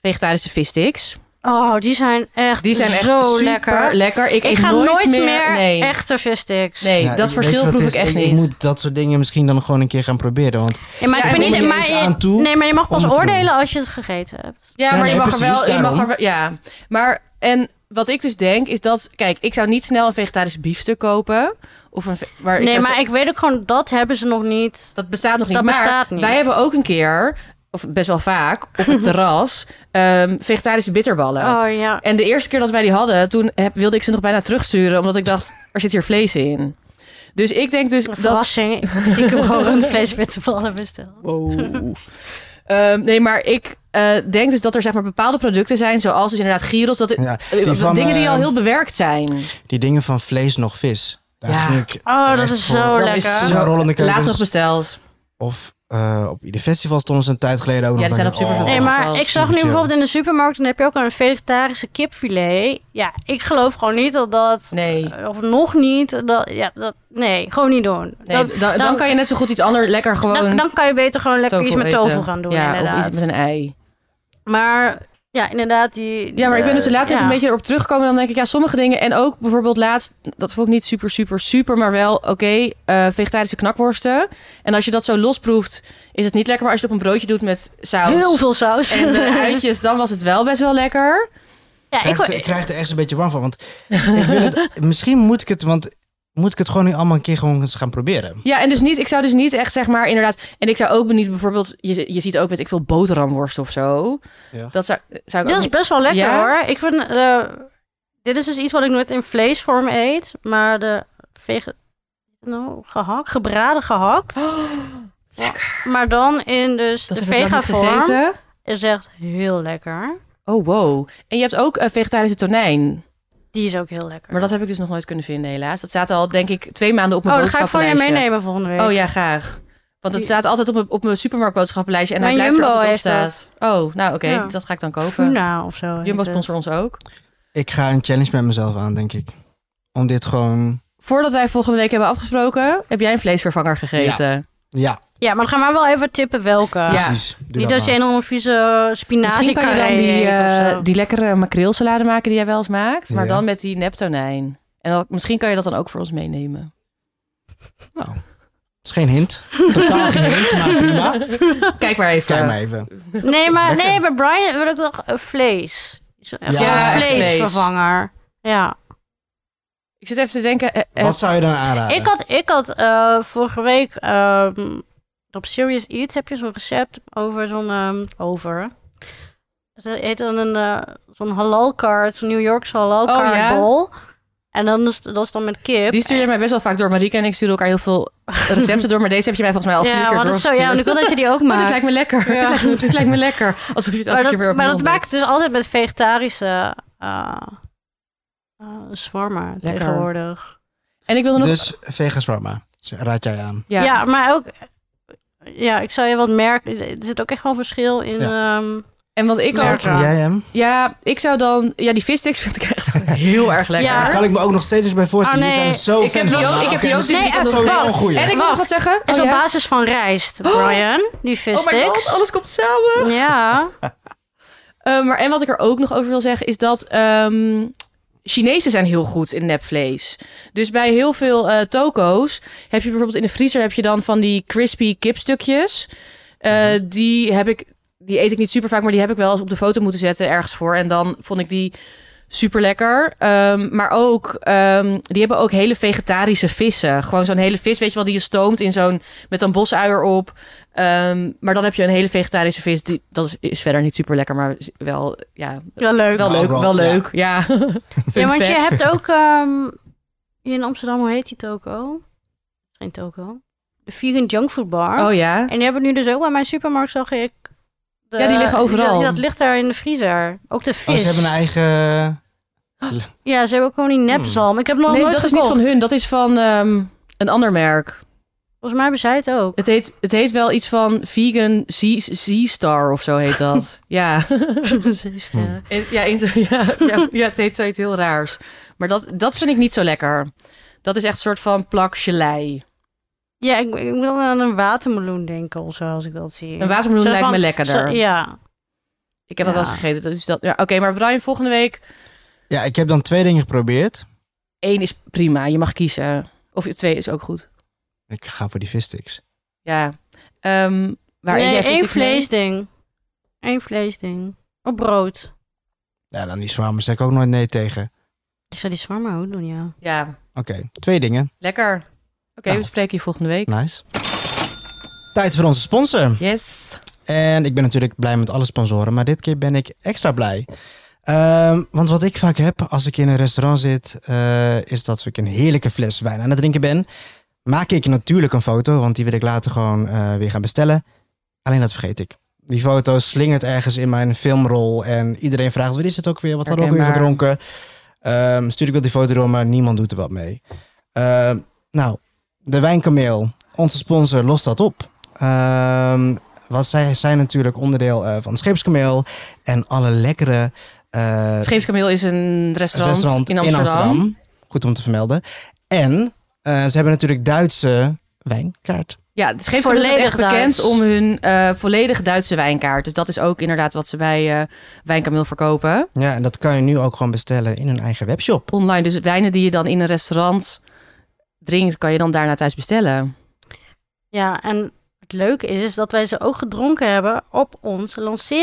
Speaker 1: vegetarische vissticks.
Speaker 2: Oh, die zijn echt
Speaker 1: Die zijn echt
Speaker 2: zo
Speaker 1: super
Speaker 2: lekker.
Speaker 1: lekker. Ik,
Speaker 2: Ik
Speaker 1: eet
Speaker 2: ga nooit, meer,
Speaker 1: nee.
Speaker 2: echte vissticks.
Speaker 1: Nee,
Speaker 3: Ja,
Speaker 1: dat
Speaker 3: ik- weet
Speaker 1: verschil
Speaker 3: je wat
Speaker 1: proef ik
Speaker 3: het is?
Speaker 1: echt
Speaker 3: Ik
Speaker 1: niet.
Speaker 3: moet dat soort dingen misschien dan gewoon een keer gaan proberen. Want
Speaker 2: Ja, maar,
Speaker 1: Ja,
Speaker 2: ik
Speaker 1: ik
Speaker 2: vind
Speaker 1: kom
Speaker 2: niet,
Speaker 3: er
Speaker 2: maar,
Speaker 3: niet
Speaker 2: je,
Speaker 3: eens aan toe
Speaker 2: nee, maar je mag
Speaker 3: om
Speaker 2: pas
Speaker 3: het te doen.
Speaker 2: oordelen als je het gegeten hebt.
Speaker 1: Ja,
Speaker 3: Ja,
Speaker 1: maar je
Speaker 3: nee,
Speaker 1: mag er
Speaker 3: precies,
Speaker 1: wel. Je mag
Speaker 3: daarom.
Speaker 1: er wel ja, maar en wat ik dus denk is dat... Kijk, ik zou niet snel een vegetarisch biefstuk kopen. Of een, ve- maar ik
Speaker 2: nee,
Speaker 1: zou
Speaker 2: maar ik weet ook gewoon, dat hebben ze nog niet.
Speaker 1: Dat bestaat nog niet.
Speaker 2: Dat
Speaker 1: maar
Speaker 2: bestaat niet.
Speaker 1: wij hebben ook een keer, of best wel vaak, op
Speaker 2: [laughs]
Speaker 1: het terras ehm, vegetarische bitterballen.
Speaker 2: Oh ja.
Speaker 1: En de eerste keer dat wij die hadden, toen heb, wilde ik ze nog bijna terugsturen, omdat ik dacht, [laughs] er zit hier vlees in. Dus ik denk dus
Speaker 2: Een
Speaker 1: dat.
Speaker 2: verrassing. Ik had
Speaker 1: [laughs]
Speaker 2: stiekem gewoon rundvlees met de ballen besteld.
Speaker 1: Wow. Oh. Ehm, nee, maar ik eh, denk dus dat er zeg maar bepaalde producten zijn, zoals dus inderdaad gyros, dat
Speaker 3: Ja,
Speaker 1: eh,
Speaker 3: die van,
Speaker 1: dingen die al
Speaker 3: eh,
Speaker 1: heel bewerkt zijn.
Speaker 3: Die dingen van vlees nog vis. Daar
Speaker 1: Ja.
Speaker 3: ging ik
Speaker 2: Oh, dat
Speaker 3: echt
Speaker 2: is
Speaker 3: voor.
Speaker 2: zo
Speaker 1: Dat
Speaker 2: lekker.
Speaker 1: is eh,
Speaker 3: Zo'n rollende
Speaker 1: Laatst nog
Speaker 3: keukens.
Speaker 1: besteld.
Speaker 3: Of eh, op ieder festival stonden ze een tijd geleden ook
Speaker 1: Ja, die
Speaker 3: nog.
Speaker 1: zijn
Speaker 3: dat ik
Speaker 1: op
Speaker 3: dacht,
Speaker 1: superveel
Speaker 2: Nee,
Speaker 1: Oh,
Speaker 2: maar
Speaker 1: wel
Speaker 2: ik zag nu
Speaker 3: super chill.
Speaker 2: bijvoorbeeld in de supermarkt, dan heb je ook een vegetarische kipfilet. Ja, ik geloof gewoon niet dat dat, eh,
Speaker 1: Nee.
Speaker 2: of nog niet, dat, ja, dat, nee, gewoon niet doen.
Speaker 1: nee
Speaker 2: Dat-
Speaker 1: dan, dan, kan je net zo goed iets anders lekker gewoon.
Speaker 2: dan, dan kan je beter gewoon lekker
Speaker 1: tofu
Speaker 2: iets met
Speaker 1: eten.
Speaker 2: tofu gaan doen,
Speaker 1: Ja,
Speaker 2: inderdaad.
Speaker 1: of iets met een ei.
Speaker 2: Maar ja, inderdaad, die...
Speaker 1: Ja, maar ik ben dus
Speaker 2: de
Speaker 1: de laatste tijd
Speaker 2: Eh, ja.
Speaker 1: een beetje erop teruggekomen. Dan denk ik, ja, sommige dingen. En ook bijvoorbeeld laatst, dat vond ik niet super, super, super. Maar wel, oké, eh, vegetarische knakworsten. En als je dat zo losproeft, is het niet lekker. Maar als je het op een broodje doet met saus
Speaker 2: Heel veel saus.
Speaker 1: en eh, de
Speaker 2: [laughs]
Speaker 1: uitjes, dan was het wel best wel lekker.
Speaker 2: ja,
Speaker 3: Ik krijg,
Speaker 2: ik,
Speaker 3: er- ik krijg er echt een beetje warm van. Want ik wil
Speaker 1: [laughs]
Speaker 3: het, misschien moet ik het, want moet ik het gewoon nu allemaal een keer gewoon eens gaan proberen.
Speaker 1: Ja, en dus niet, ik zou dus niet echt, zeg maar, inderdaad. En ik zou ook niet bijvoorbeeld, je, je ziet ook, weet ik veel, boterhamworst of zo.
Speaker 3: Ja.
Speaker 1: Dat zou, zou ik ook
Speaker 2: Dat is
Speaker 1: niet-
Speaker 2: best wel lekker
Speaker 1: Ja?
Speaker 2: hoor. Ik vind, eh, dit is dus iets wat ik nooit in vleesvorm eet, maar de vege... Nou, gehakt, gebraden gehakt. Maar dan in dus
Speaker 1: Oh. dat
Speaker 2: de
Speaker 1: heb ik wel
Speaker 2: vega
Speaker 1: niet
Speaker 2: vorm.
Speaker 1: gegeten.
Speaker 2: Is echt heel lekker.
Speaker 1: Oh, wow. En je hebt ook eh, vegetarische tonijn.
Speaker 2: Die is ook heel lekker.
Speaker 1: Maar dat heb ik dus nog nooit kunnen vinden, helaas. Dat staat al, denk ik, twee maanden op mijn
Speaker 2: oh, dat ga ik van je
Speaker 1: boodschappenlijstje.
Speaker 2: meenemen volgende week.
Speaker 1: Oh ja, graag. Want het
Speaker 2: Die-
Speaker 1: staat altijd op mijn, op mijn supermarktboodschappenlijstje. En hij
Speaker 2: Mijn
Speaker 1: blijft er
Speaker 2: Jumbo
Speaker 1: altijd op
Speaker 2: heeft dat.
Speaker 1: staat. Oh, nou oké.
Speaker 2: Ja. nou
Speaker 1: Dat ga ik dan kopen.
Speaker 2: Funa of zo. heet
Speaker 1: Jumbo
Speaker 2: het.
Speaker 1: sponsor ons ook.
Speaker 3: Ik ga een challenge met mezelf aan, denk ik. Om dit gewoon.
Speaker 1: Voordat wij volgende week hebben afgesproken, heb jij een vleesvervanger gegeten.
Speaker 3: Ja,
Speaker 2: Ja, maar dan gaan we wel even tippen welke.
Speaker 1: Ja.
Speaker 3: precies. Doe
Speaker 2: Niet
Speaker 3: dat
Speaker 2: dat je
Speaker 3: maar.
Speaker 2: een of andere vieze
Speaker 1: Misschien
Speaker 2: spinazie
Speaker 1: kan je dan die,
Speaker 2: eet of
Speaker 1: eh,
Speaker 2: zo.
Speaker 1: die lekkere makreelsalade maken die jij wel eens maakt. Maar
Speaker 3: Ja.
Speaker 1: dan met die neptonijn. En dat, misschien kan je dat dan ook voor ons meenemen.
Speaker 3: Het is geen hint. Totaal geen hint, maar
Speaker 1: [laughs]
Speaker 3: prima.
Speaker 1: [laughs] Kijk maar even.
Speaker 3: Kijk maar even.
Speaker 2: Nee, maar
Speaker 3: Lekker.
Speaker 2: nee, bij Brian wil ik nog eh, vlees. Zo- echt
Speaker 3: Ja,
Speaker 2: een
Speaker 1: vlees.
Speaker 2: vleesvervanger. Ja.
Speaker 1: Ik zit even te denken. eh, eh,
Speaker 3: Wat zou je dan aanraden?
Speaker 2: Ik had, ik had eh, vorige week ehm, op Serious Eats heb je zo'n recept over zo'n... ehm, over... Het heet dan een, eh, zo'n halal card, zo'n New Yorkse halal
Speaker 1: Oh,
Speaker 2: card
Speaker 1: ja.
Speaker 2: bol. En dan is, dat is dan met kip.
Speaker 1: die stuur je mij best wel vaak door. Marieke en ik sturen elkaar heel veel recepten door. Maar deze heb je mij volgens mij al vier
Speaker 2: ja,
Speaker 1: keer
Speaker 2: maar dat is zo,
Speaker 1: doorgestuurd.
Speaker 2: ja, want ik wil dat
Speaker 1: [laughs]
Speaker 2: je die ook
Speaker 1: Maar
Speaker 2: maakt.
Speaker 1: dit Oh, lijkt me lekker. [laughs]
Speaker 2: Ja.
Speaker 1: Dit, lijkt me, dit lijkt me lekker. Alsof je het elke
Speaker 2: Maar
Speaker 1: keer weer
Speaker 2: dat,
Speaker 1: opnieuw
Speaker 2: maar dat maakt
Speaker 1: ontdekt.
Speaker 2: dus altijd met vegetarische eh eh, shawarma
Speaker 1: Lekker.
Speaker 2: tegenwoordig.
Speaker 1: En ik wilde nog...
Speaker 3: Dus vega shawarma. Raad jij aan.
Speaker 1: ja.
Speaker 2: Ja. maar ook... Ja, ik zou je wat merken. Er zit ook echt wel verschil in... ehm,
Speaker 1: En wat ik
Speaker 2: Ja.
Speaker 1: ook...
Speaker 3: Merk jij hem?
Speaker 1: Ja, ik zou dan... Ja, die vissticks vind ik echt [laughs] heel erg lekker.
Speaker 2: Ja.
Speaker 3: Daar kan ik me ook nog steeds eens bij voorstellen.
Speaker 2: Oh, nee.
Speaker 3: Jullie zijn er zo
Speaker 1: Ik heb
Speaker 3: fan
Speaker 1: die
Speaker 3: van.
Speaker 1: ook-
Speaker 3: Maar
Speaker 1: ik heb
Speaker 3: oké,
Speaker 1: die ook
Speaker 3: misschien
Speaker 2: niet
Speaker 3: is dat
Speaker 2: echt
Speaker 3: sowieso
Speaker 2: geld.
Speaker 3: een goeie.
Speaker 1: En ik wil nog
Speaker 2: Wacht.
Speaker 1: wat zeggen. Oh,
Speaker 2: is op
Speaker 1: ja?
Speaker 2: basis van rijst, Brian.
Speaker 1: Oh
Speaker 2: Die
Speaker 1: my god,
Speaker 2: vissticks.
Speaker 1: alles komt samen.
Speaker 2: Ja.
Speaker 1: Eh, maar en wat ik er ook nog over wil zeggen is dat... ehm, Chinezen zijn heel goed in nepvlees. Dus bij heel veel eh, toko's heb je bijvoorbeeld in de vriezer heb je dan van die crispy kipstukjes. Eh, Die heb ik, die eet ik niet super vaak, maar die heb ik wel eens op de foto moeten zetten ergens voor. En dan vond ik die super lekker. maar ook, ehm, die hebben ook hele vegetarische vissen. Gewoon zo'n hele vis, weet je wel, die je stoomt in zo'n met een bosuier op. Ehm, maar dan heb je een hele vegetarische vis. Die, dat is, is verder niet super lekker, maar is wel, ja,
Speaker 2: Wel leuk.
Speaker 1: wel
Speaker 3: Wel
Speaker 1: leuk,
Speaker 3: raw,
Speaker 1: wel
Speaker 3: ja.
Speaker 1: leuk. Ja, [laughs]
Speaker 2: ja,
Speaker 1: Fun
Speaker 2: want je
Speaker 1: fact.
Speaker 2: hebt
Speaker 1: [laughs]
Speaker 2: ook... ehm, hier in Amsterdam, hoe heet die toko? Geen toko. De vegan junkfood bar.
Speaker 1: Oh ja.
Speaker 2: En die hebben nu dus ook bij mijn supermarkt, zag ik. de-
Speaker 1: Ja, die liggen overal.
Speaker 2: Dat, dat ligt daar in de vriezer. Ook de vis.
Speaker 3: Oh, ze hebben een Hmm. eigen... eh,
Speaker 2: Ja, ze hebben ook gewoon die nepzalm. Ik heb nog
Speaker 1: Nee,
Speaker 2: nooit
Speaker 1: dat is niet
Speaker 2: gekocht.
Speaker 1: van hun. Dat is van ehm, een ander merk.
Speaker 2: Volgens mij hebben zij het
Speaker 1: [laughs]
Speaker 2: ook.
Speaker 1: Het heet, het heet wel iets van Vegan Sea- Sea Star of zo heet
Speaker 2: [laughs]
Speaker 1: dat. ja. [laughs]
Speaker 3: Hmm.
Speaker 2: Zeester.
Speaker 1: En- Ja, in zo- ja, ja, ja, het heet zoiets heel raars. Maar dat, dat vind ik niet zo lekker. Dat is echt een soort van plak gelei.
Speaker 2: ja, ik, ik wil aan een watermeloen denken of zo, als ik dat zie.
Speaker 1: Een watermeloen
Speaker 2: Zo
Speaker 1: lijkt me
Speaker 2: van-
Speaker 1: lekkerder.
Speaker 2: Zo- ja.
Speaker 1: Ik heb dat wel
Speaker 2: Ja.
Speaker 1: eens gegeten. Dus dat, ja, Oké, maar Brian, volgende week.
Speaker 3: Ja, ik heb dan twee dingen geprobeerd.
Speaker 1: Eén is prima. Je mag kiezen. Of twee is ook goed.
Speaker 3: Ik ga voor die vissticks.
Speaker 1: Ja. Ehm waar eet
Speaker 2: nee,
Speaker 1: jij
Speaker 2: één
Speaker 1: vlees?
Speaker 2: vleesding. Eén vleesding. Op brood.
Speaker 3: Ja, dan die shawarma zeg ik ook nooit nee tegen.
Speaker 2: Ik zou die zwarmer ook doen, ja.
Speaker 1: Ja,
Speaker 3: Oké, twee dingen.
Speaker 1: lekker. Oké,
Speaker 3: Nou.
Speaker 1: we spreken je volgende week.
Speaker 3: Nice. Tijd voor onze sponsor.
Speaker 1: Yes.
Speaker 3: En ik ben natuurlijk blij met alle sponsoren, maar dit keer ben ik extra blij. Ehm, want wat ik vaak heb als ik in een restaurant zit, eh, is dat ik een heerlijke fles wijn aan het drinken ben. Maak ik natuurlijk een foto, want die wil ik later gewoon eh, weer gaan bestellen. Alleen dat vergeet ik. Die foto slingert ergens in mijn filmrol en iedereen vraagt, wat is het ook weer? Wat hadden we ook weer
Speaker 1: Herkenbaar.
Speaker 3: gedronken? Ehm, stuur ik wel die foto door, maar niemand doet er wat mee. Ehm, nou, de Wijnkameel, onze sponsor, lost dat op. Ehm want zij zijn natuurlijk onderdeel eh, van Scheepskameel en alle lekkere eh,
Speaker 1: Scheepskameel is een restaurant,
Speaker 3: restaurant
Speaker 1: in Amsterdam.
Speaker 3: Goed om te vermelden. En eh, ze hebben natuurlijk Duitse wijnkaart.
Speaker 1: Ja, de Scheepskameel is
Speaker 2: Volledig
Speaker 1: echt bekend
Speaker 2: Duits.
Speaker 1: om hun eh volledig Duitse wijnkaart. Dus dat is ook inderdaad wat ze bij eh Wijnkameel verkopen.
Speaker 3: Ja, en dat kan je nu ook gewoon bestellen in hun eigen webshop.
Speaker 1: Online, dus wijnen die je dan in een restaurant drinkt, kan je dan daarna thuis bestellen.
Speaker 2: Ja, en het leuke is, is dat wij ze ook gedronken hebben op ons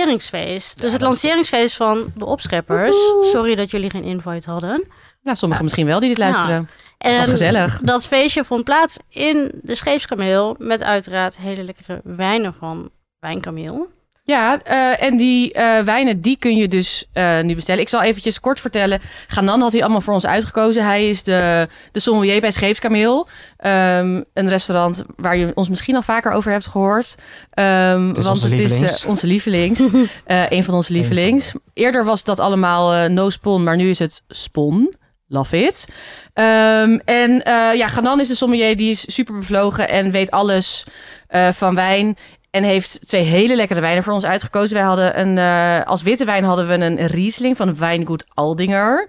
Speaker 2: lanceringsfeest.
Speaker 3: Ja,
Speaker 2: dus het
Speaker 3: dat is-
Speaker 2: lanceringsfeest van de opscheppers.
Speaker 1: Woehoe.
Speaker 2: Sorry dat jullie geen invite hadden.
Speaker 1: Nou, sommigen misschien wel die dit luisteren.
Speaker 2: Nou, En
Speaker 1: was gezellig.
Speaker 2: Dat feestje vond plaats in de Scheepskameel. Met uiteraard hele lekkere wijnen van Wijnkameel.
Speaker 1: Ja, eh, en die eh, wijnen, die kun je dus eh, nu bestellen. Ik zal eventjes kort vertellen. Ganan had hij allemaal voor ons uitgekozen. Hij is de, de sommelier bij Scheepskameel. Ehm, een restaurant waar je ons misschien al vaker over hebt gehoord. Ehm,
Speaker 3: is
Speaker 1: want
Speaker 3: onze
Speaker 1: het is
Speaker 3: lievelings.
Speaker 1: eh, onze
Speaker 3: [laughs]
Speaker 1: lievelings. Eh, een van onze
Speaker 3: Eén van de-
Speaker 1: lievelings. Eerder was dat allemaal eh, no spon, maar nu is het spon. Love it. Ehm, en eh, ja, Ganan is de sommelier. Die is super bevlogen en weet alles eh, van wijn. En heeft twee hele lekkere wijnen voor ons uitgekozen. Wij hadden een, eh, als witte wijn hadden we een Riesling van Wijngoed Aldinger.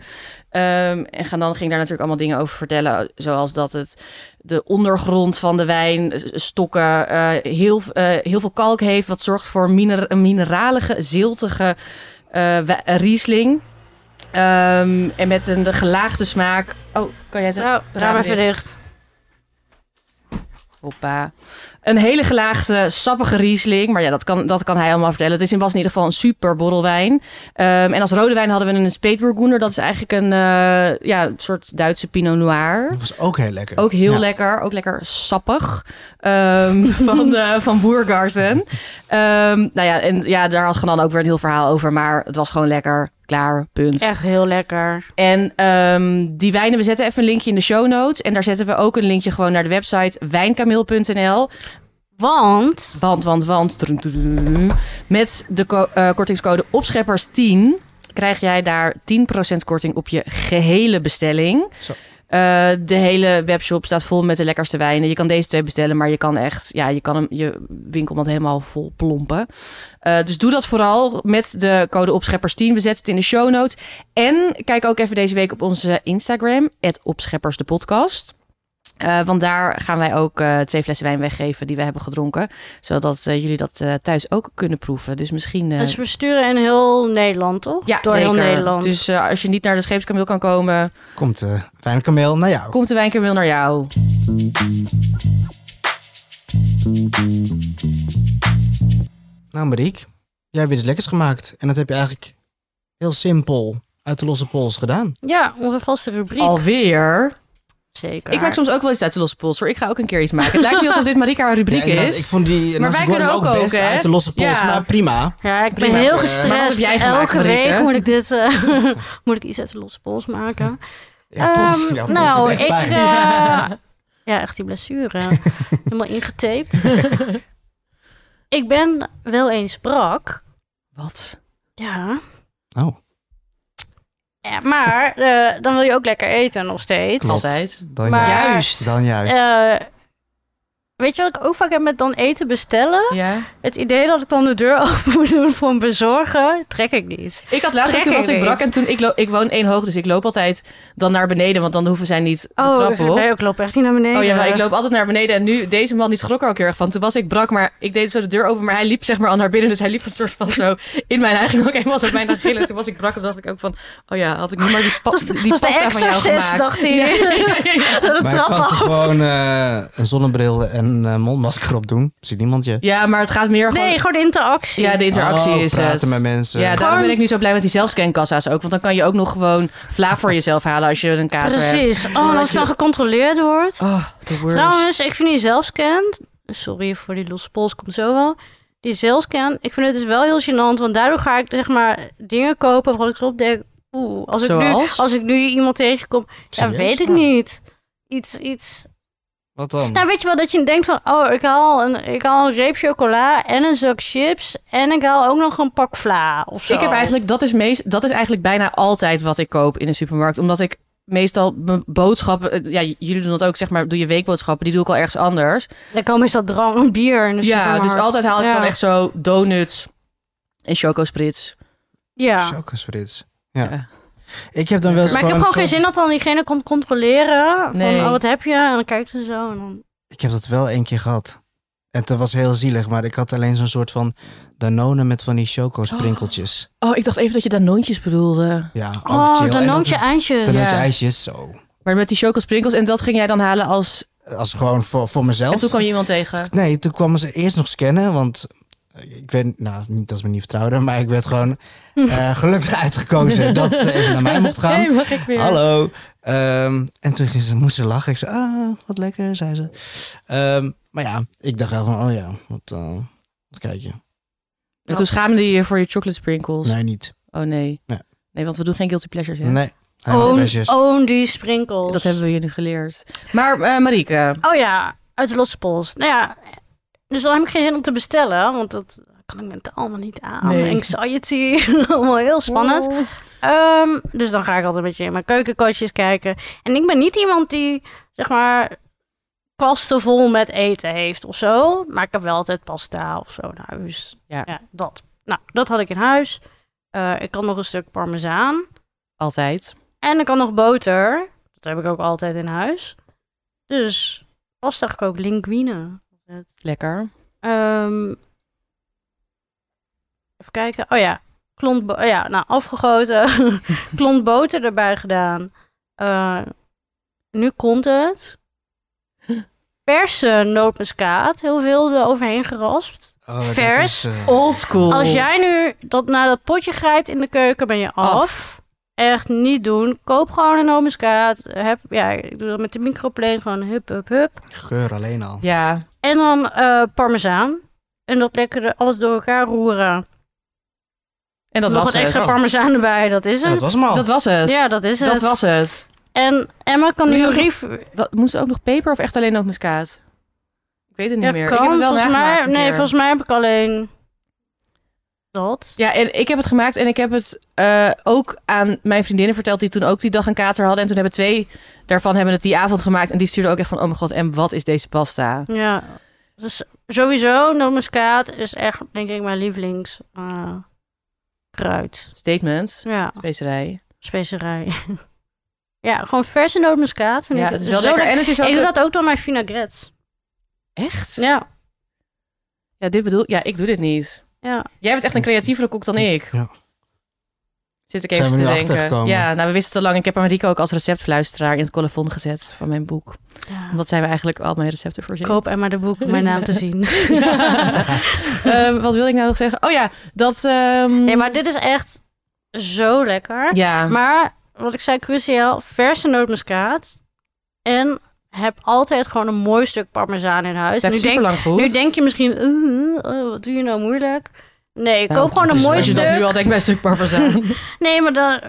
Speaker 1: Ehm, en Ganan ging daar natuurlijk allemaal dingen over vertellen. Zoals dat het de ondergrond van de wijn, s- stokken, eh, heel, eh, heel veel kalk heeft. Wat zorgt voor miner- een mineralige, ziltige eh, wa- Riesling. Ehm, en met een gelaagde smaak. Oh, kan jij het
Speaker 2: Nou, raam even
Speaker 1: dicht.
Speaker 2: dicht.
Speaker 1: Hoppa. Een hele gelaagde, sappige Riesling. Maar ja, dat kan, dat kan hij allemaal vertellen. Het is in, was in ieder geval een super borrelwijn. Ehm, en als rode wijn hadden we een Speetburgunder. Dat is eigenlijk een eh, ja, een soort Duitse Pinot Noir.
Speaker 3: Dat was ook heel lekker.
Speaker 1: Ook heel
Speaker 3: Ja.
Speaker 1: lekker. Ook lekker sappig. Ehm, [laughs] van, eh van Boergarten. Ehm, nou ja, en ja, daar had Genan ook weer een heel verhaal over. Maar het was gewoon lekker. Klaar, punt.
Speaker 2: Echt heel lekker.
Speaker 1: En ehm, die wijnen, we zetten even een linkje in de show notes. En daar zetten we ook een linkje gewoon naar de website wijnkameel.nl.
Speaker 2: Want
Speaker 1: Want, want, want. Trun, trun, trun, trun. Met de ko- eh, kortingscode opscheppers10 krijg jij daar 10% korting op je gehele bestelling.
Speaker 3: Zo.
Speaker 1: Eh, de hele webshop staat vol met de lekkerste wijnen. Je kan deze twee bestellen, maar je kan echt, ja, je kan hem, je winkelmand helemaal vol plompen. Eh, dus doe dat vooral met de code opscheppers10. We zetten het in de show notes. En kijk ook even deze week op onze Instagram, opscheppers de podcast. want daar gaan wij ook eh, twee flessen wijn weggeven die we hebben gedronken. Zodat eh, jullie dat eh, thuis ook kunnen proeven. Dus misschien... eh,
Speaker 2: dus we sturen in heel Nederland, toch?
Speaker 1: ja,
Speaker 2: Door heel
Speaker 1: zeker.
Speaker 2: Nederland.
Speaker 1: Dus eh, als je niet naar de scheepskameel kan komen,
Speaker 3: Komt eh wijnkameel naar jou.
Speaker 1: komt de wijnkameel naar jou.
Speaker 3: Nou Mariek, jij hebt weer iets lekkers gemaakt. En dat heb je eigenlijk heel simpel uit de losse pols gedaan.
Speaker 2: Ja, onze vaste rubriek.
Speaker 1: Alweer.
Speaker 2: Zeker.
Speaker 1: Ik maak soms ook wel iets uit de losse pols hoor. Ik ga ook een keer iets maken. Het lijkt niet alsof dit Marika haar rubriek
Speaker 3: Ja, inderdaad,
Speaker 1: is.
Speaker 3: ik vond die
Speaker 1: Maar
Speaker 3: Nancy
Speaker 1: wij
Speaker 3: Gordon
Speaker 1: kunnen ook ook,
Speaker 3: best
Speaker 1: hè?
Speaker 3: uit de losse pols,
Speaker 1: Ja.
Speaker 3: maar prima.
Speaker 2: Ja, ik ben
Speaker 1: Prima.
Speaker 2: heel
Speaker 3: Eh,
Speaker 1: maar wat
Speaker 2: gestrest.
Speaker 1: heb jij gemaakt,
Speaker 2: Elke
Speaker 1: Marieke?
Speaker 2: week moet ik dit, eh, moet ik iets uit de losse pols maken.
Speaker 3: [laughs] Ja, pols,
Speaker 2: Ehm,
Speaker 3: ja, pols
Speaker 2: nou,
Speaker 3: doet echt
Speaker 2: ik,
Speaker 3: pijn. [laughs]
Speaker 2: eh, ja, echt die blessure. Helemaal ingetaped.
Speaker 3: [laughs]
Speaker 2: ik ben wel eens brak.
Speaker 1: Wat?
Speaker 2: Ja.
Speaker 3: Oh,
Speaker 2: Ja, maar eh, dan wil je ook lekker eten nog steeds.
Speaker 3: Klopt.
Speaker 1: Altijd.
Speaker 3: dan
Speaker 2: Maar-
Speaker 3: juist.
Speaker 1: Juist.
Speaker 3: Dan juist.
Speaker 2: Eh, weet je wat ik ook vaak heb met dan eten bestellen?
Speaker 1: Ja.
Speaker 2: Het idee dat ik dan de deur [laughs] open moet doen voor een bezorger, trek ik niet.
Speaker 1: Ik had laatst, ook-
Speaker 2: Trek
Speaker 1: toen was
Speaker 2: ik
Speaker 1: ik brak
Speaker 2: niet.
Speaker 1: en toen, ik, lo- ik woon één hoog, dus ik loop altijd dan naar beneden, want dan hoeven zij niet de
Speaker 2: Oh,
Speaker 1: trap op.
Speaker 2: nee, ik loop echt niet naar beneden.
Speaker 1: Oh ja, maar ik loop altijd naar beneden en nu, deze man die schrok er ook heel erg van. Toen was ik brak, maar ik deed zo de deur open, maar hij liep zeg maar al naar binnen. Dus hij liep een soort van zo in mijn eigen ook helemaal zo bijna gillen. Toen was ik brak en dacht ik ook van, oh ja, had ik nu maar die, pa-
Speaker 2: Dat
Speaker 1: die
Speaker 2: was de
Speaker 1: pasta van jou
Speaker 2: exorcist,
Speaker 1: gemaakt. [laughs]
Speaker 2: dacht hij. [laughs]
Speaker 1: Ja, ja, ja.
Speaker 2: Door de
Speaker 3: maar
Speaker 2: trap
Speaker 3: kan
Speaker 2: af.
Speaker 3: toch gewoon eh, een zonnebril en een eh, mondmasker op doen? Ziet niemand je?
Speaker 1: Ja, maar het gaat meer gewoon...
Speaker 2: Nee, gewoon de interactie.
Speaker 1: ja, de interactie
Speaker 3: Oh,
Speaker 1: is
Speaker 3: praten
Speaker 1: het.
Speaker 3: met mensen.
Speaker 1: Ja, daarom
Speaker 2: Gewoon-
Speaker 1: ben ik nu zo blij met die zelfscankassa's ook. Want dan kan je ook nog gewoon vla voor jezelf halen als je een kater hebt.
Speaker 2: Precies. Oh, en
Speaker 1: Zodat
Speaker 2: als
Speaker 1: je-
Speaker 2: het dan gecontroleerd wordt.
Speaker 1: Oh, the worst.
Speaker 2: Trouwens, ik vind die zelfscan... Sorry voor die losse pols, komt zo wel. Die zelfscan, ik vind het dus wel heel gênant. Want daardoor ga ik zeg maar dingen kopen waarvan ik erop denk... Oeh, als ik, nu,
Speaker 1: Zoals?
Speaker 2: als ik nu iemand tegenkom... Ja,
Speaker 3: Serieus?
Speaker 2: weet ik
Speaker 3: Ja.
Speaker 2: niet. Iets, iets...
Speaker 3: Wat dan?
Speaker 2: Nou, weet je wel, dat je denkt van... Oh, ik haal een, ik haal een reep chocola en een zak chips... en ik haal ook nog een pak vla of zo.
Speaker 1: Ik heb eigenlijk, dat is, meest, dat is eigenlijk bijna altijd wat ik koop in de supermarkt. Omdat ik meestal mijn boodschappen, eh, ja, j- jullie doen dat ook, zeg maar, doe je weekboodschappen, die doe ik al ergens anders.
Speaker 2: Dan komen ze dat drank, bier in de
Speaker 1: ja, dus
Speaker 2: supermarkt.
Speaker 1: altijd haal ik
Speaker 2: Ja.
Speaker 1: dan echt zo donuts en chocosprits.
Speaker 2: Ja.
Speaker 3: Chocosprits. Ja.
Speaker 1: Ja.
Speaker 3: Ik heb dan wel eens
Speaker 2: Maar ik heb
Speaker 3: gewoon
Speaker 2: gewoon geen
Speaker 3: soms-
Speaker 2: zin dat dan diegene komt controleren.
Speaker 1: Nee.
Speaker 2: Van, oh, wat heb je? En dan kijkt ze zo. En dan...
Speaker 3: Ik heb dat wel één keer gehad. En dat was heel zielig, maar ik had alleen zo'n soort van Danone met van die chocosprinkeltjes.
Speaker 1: Oh, ik dacht even dat je danoontjes bedoelde.
Speaker 3: Ja, ook
Speaker 2: Oh,
Speaker 3: chill.
Speaker 2: dan
Speaker 3: En dat
Speaker 2: noemt je
Speaker 3: is-
Speaker 2: eindjes.
Speaker 3: Danoontje
Speaker 1: Ja.
Speaker 3: ijsjes, zo.
Speaker 1: Maar met die chocosprinkels en dat ging jij dan halen als...
Speaker 3: Als gewoon voor, voor mezelf.
Speaker 1: En toen kwam je iemand tegen.
Speaker 3: Nee, toen kwamen ze eerst nog scannen, want eh, ik werd, nou, niet dat ze me niet vertrouwden, maar ik werd
Speaker 1: [laughs]
Speaker 3: gewoon eh, gelukkig uitgekozen dat ze even naar mij mocht gaan.
Speaker 1: Nee, mag ik weer.
Speaker 3: Hallo. Ehm, en toen ging ze, moest ze lachen. Ik zei, ah, wat lekker, zei ze. Ehm, maar ja, ik dacht wel van, oh ja, wat, eh, wat kijk je?
Speaker 1: En toen schaamde je je voor je chocolate sprinkles.
Speaker 3: Nee, niet.
Speaker 1: Oh nee.
Speaker 3: Nee.
Speaker 1: Nee, want we doen geen guilty pleasures. Hè?
Speaker 3: Nee. Ah,
Speaker 2: Own,
Speaker 3: meisjes.
Speaker 2: own die sprinkles.
Speaker 1: Dat hebben we je nu geleerd. Maar eh, Marieke,
Speaker 2: Oh ja, uit de losse pols. Nou ja, dus dan heb ik geen zin om te bestellen. Want dat kan ik mentaal allemaal niet aan.
Speaker 1: Nee.
Speaker 2: Anxiety. [laughs] allemaal heel spannend. Ehm, dus dan ga ik altijd een beetje in mijn keukenkastjes kijken. En ik ben niet iemand die, zeg maar, kasten vol met eten heeft of zo. Maar ik heb wel altijd pasta of zo naar huis.
Speaker 1: Ja.
Speaker 2: dat. Nou, dat had ik in huis. Eh, ik kan nog een stuk parmezaan.
Speaker 1: altijd.
Speaker 2: En ik kan nog boter. Dat heb ik ook altijd in huis. Dus pasta gekookt, linguine.
Speaker 1: Lekker.
Speaker 2: Ehm, even kijken. Oh ja, klont bo- oh ja, nou afgegoten. [laughs] klont boter erbij gedaan. Eh, nu komt het. Verse nootmuskaat, heel veel eroverheen geraspt.
Speaker 3: Oh, dat
Speaker 2: vers.
Speaker 3: is, eh,
Speaker 1: Old school.
Speaker 2: Als jij nu dat naar dat potje grijpt in de keuken, ben je af.
Speaker 1: Af.
Speaker 2: Echt niet doen. Koop gewoon een nootmuskaat. Heb, ja, ik doe dat met de microplane gewoon hup, hup, hup.
Speaker 3: Geur alleen al.
Speaker 1: Ja,
Speaker 2: En dan eh parmezaan. En dat lekker er- alles door elkaar roeren.
Speaker 1: en dat
Speaker 2: Nog
Speaker 1: was
Speaker 2: wat
Speaker 1: het.
Speaker 2: extra
Speaker 3: Oh.
Speaker 2: parmezaan erbij, dat is
Speaker 3: Ja,
Speaker 2: het.
Speaker 3: dat was hem al.
Speaker 1: Dat was het.
Speaker 2: ja, dat is het.
Speaker 1: dat was het.
Speaker 2: En Emma kan
Speaker 1: Doe
Speaker 2: nu
Speaker 1: je
Speaker 2: een
Speaker 1: ook nog-
Speaker 2: rief...
Speaker 1: Wat, moest er ook nog peper of echt alleen nootmuskaat? Ik weet het niet
Speaker 2: Ja,
Speaker 1: meer.
Speaker 2: kan,
Speaker 1: ik heb het wel
Speaker 2: volgens mij.
Speaker 1: nagemaakt een
Speaker 2: Nee,
Speaker 1: keer.
Speaker 2: volgens mij heb ik alleen dat.
Speaker 1: Ja, en ik heb het gemaakt en ik heb het eh, ook aan mijn vriendinnen verteld... die toen ook die dag een kater hadden. En toen hebben twee daarvan hebben het die avond gemaakt. En die stuurden ook echt van... oh mijn god, en wat is deze pasta?
Speaker 2: Ja. Dus sowieso, nootmuskaat is echt, denk ik, mijn lievelings eh, kruid.
Speaker 1: Statement.
Speaker 2: Ja,
Speaker 1: Specerij.
Speaker 2: specerij. [laughs] ja, gewoon verse nootmuskaat vind
Speaker 1: Ja,
Speaker 2: ik.
Speaker 1: het is
Speaker 2: dus
Speaker 1: wel
Speaker 2: zo
Speaker 1: lekker.
Speaker 2: lekker.
Speaker 1: En het is ook...
Speaker 2: Ik doe dat ook door mijn vinaigrettes.
Speaker 1: Echt?
Speaker 2: Ja,
Speaker 1: Ja, dit bedoel... Ja, ik doe dit niet.
Speaker 2: ja.
Speaker 1: Jij bent echt een creatievere kok dan ik.
Speaker 3: Ja.
Speaker 1: Zit ik
Speaker 3: Zijn
Speaker 1: even
Speaker 3: we
Speaker 1: te
Speaker 3: nu
Speaker 1: denken.
Speaker 3: achtergekomen?
Speaker 1: Ja, nou we wisten het al lang. Ik heb Amerika ook als receptfluisteraar in het colofon gezet van mijn boek.
Speaker 2: ja.
Speaker 1: Wat zijn we eigenlijk al mijn recepten voor [laughs]
Speaker 2: Koop Emma de boek om mijn naam te zien.
Speaker 1: wat wil ik nou nog zeggen? Oh ja, dat. ehm,
Speaker 2: nee, maar dit is echt zo lekker.
Speaker 1: Ja,
Speaker 2: Maar wat ik zei, cruciaal, verse nootmuskaat. En heb altijd gewoon een mooi stuk parmezaan in huis.
Speaker 1: blijft
Speaker 2: Nu
Speaker 1: super
Speaker 2: denk
Speaker 1: lang goed.
Speaker 2: Nu denk je misschien, eh, eh, wat doe je nou moeilijk? Nee, ik
Speaker 1: Nou,
Speaker 2: koop gewoon
Speaker 3: het
Speaker 2: een
Speaker 3: is
Speaker 2: mooi
Speaker 1: Als je
Speaker 2: stuk.
Speaker 3: wel-
Speaker 1: dat nu al denkt bij een stuk parmezaan.
Speaker 2: Nee, maar dan,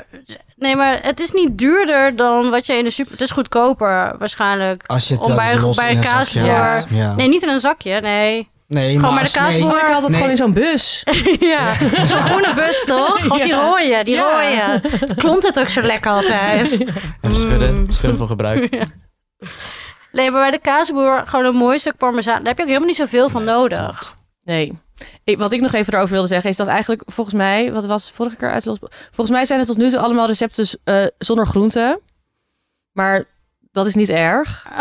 Speaker 2: nee, maar het is niet duurder dan wat je in de super. Het is goedkoper
Speaker 1: Oh.
Speaker 2: waarschijnlijk.
Speaker 3: Als je het
Speaker 2: Om
Speaker 3: wel
Speaker 2: bij-
Speaker 3: eens los
Speaker 2: bij
Speaker 3: in een
Speaker 2: kaas
Speaker 3: zakje
Speaker 1: voor-
Speaker 3: haalt. Ja.
Speaker 2: Nee, niet in een zakje, nee. [laughs]
Speaker 3: Nee,
Speaker 2: Gewoon bij
Speaker 3: maar
Speaker 2: de kaas
Speaker 3: nee.
Speaker 2: voor-
Speaker 1: Oh, Maar ik had het
Speaker 3: Nee.
Speaker 1: gewoon in zo'n bus.
Speaker 2: ja,
Speaker 1: [laughs]
Speaker 2: zo'n groene bus toch? Of die
Speaker 1: Ja.
Speaker 2: rode, die
Speaker 1: Ja.
Speaker 2: rode. Klont het ook zo
Speaker 1: [laughs]
Speaker 2: lekker altijd.
Speaker 3: Even schudden.
Speaker 2: Mm.
Speaker 3: Schudden voor gebruik.
Speaker 2: [laughs] Nee, maar bij de kaasboer gewoon een mooi stuk parmezaan. Daar heb je ook helemaal niet zoveel van nodig.
Speaker 1: Nee. Ik- wat ik nog even erover wilde zeggen is dat eigenlijk volgens mij, wat was vorige keer uit Los- Volgens mij zijn het tot nu toe allemaal recepten eh, zonder groenten. Maar dat is niet erg.
Speaker 2: Eh,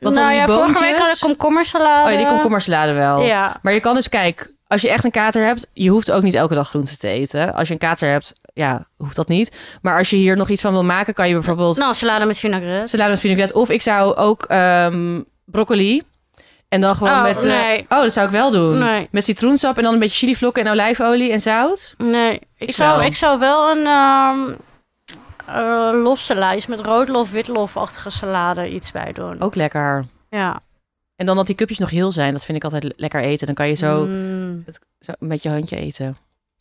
Speaker 1: dan
Speaker 2: nou
Speaker 1: die
Speaker 2: ja, vorige week
Speaker 1: boontjes?
Speaker 2: had ik komkommersalade.
Speaker 1: Oh ja, die komkommersalade wel.
Speaker 2: Ja,
Speaker 1: Maar je kan dus, kijk, als je echt een kater hebt, je hoeft ook niet elke dag groenten te eten. Als je een kater hebt, ja, hoeft dat niet. Maar als je hier nog iets van wil maken, kan je bijvoorbeeld
Speaker 2: nou salade met vinaigrette.
Speaker 1: salade met vinaigrette. Of ik zou ook ehm, broccoli En dan gewoon
Speaker 2: Oh,
Speaker 1: met... eh,
Speaker 2: nee.
Speaker 1: oh, dat zou ik wel doen.
Speaker 2: Nee.
Speaker 1: Met citroensap en dan een beetje chilivlokken en olijfolie en zout.
Speaker 2: Nee, ik,
Speaker 1: Ik
Speaker 2: zou,
Speaker 1: wel.
Speaker 2: ik zou wel een ehm eh, lofsalade, iets met roodlof, witlofachtige salade iets bij doen.
Speaker 1: Ook lekker.
Speaker 2: Ja.
Speaker 1: En dan dat die cupjes nog heel zijn. Dat vind ik altijd le- lekker eten. Dan kan je zo,
Speaker 2: Mm.
Speaker 1: zo met je handje eten.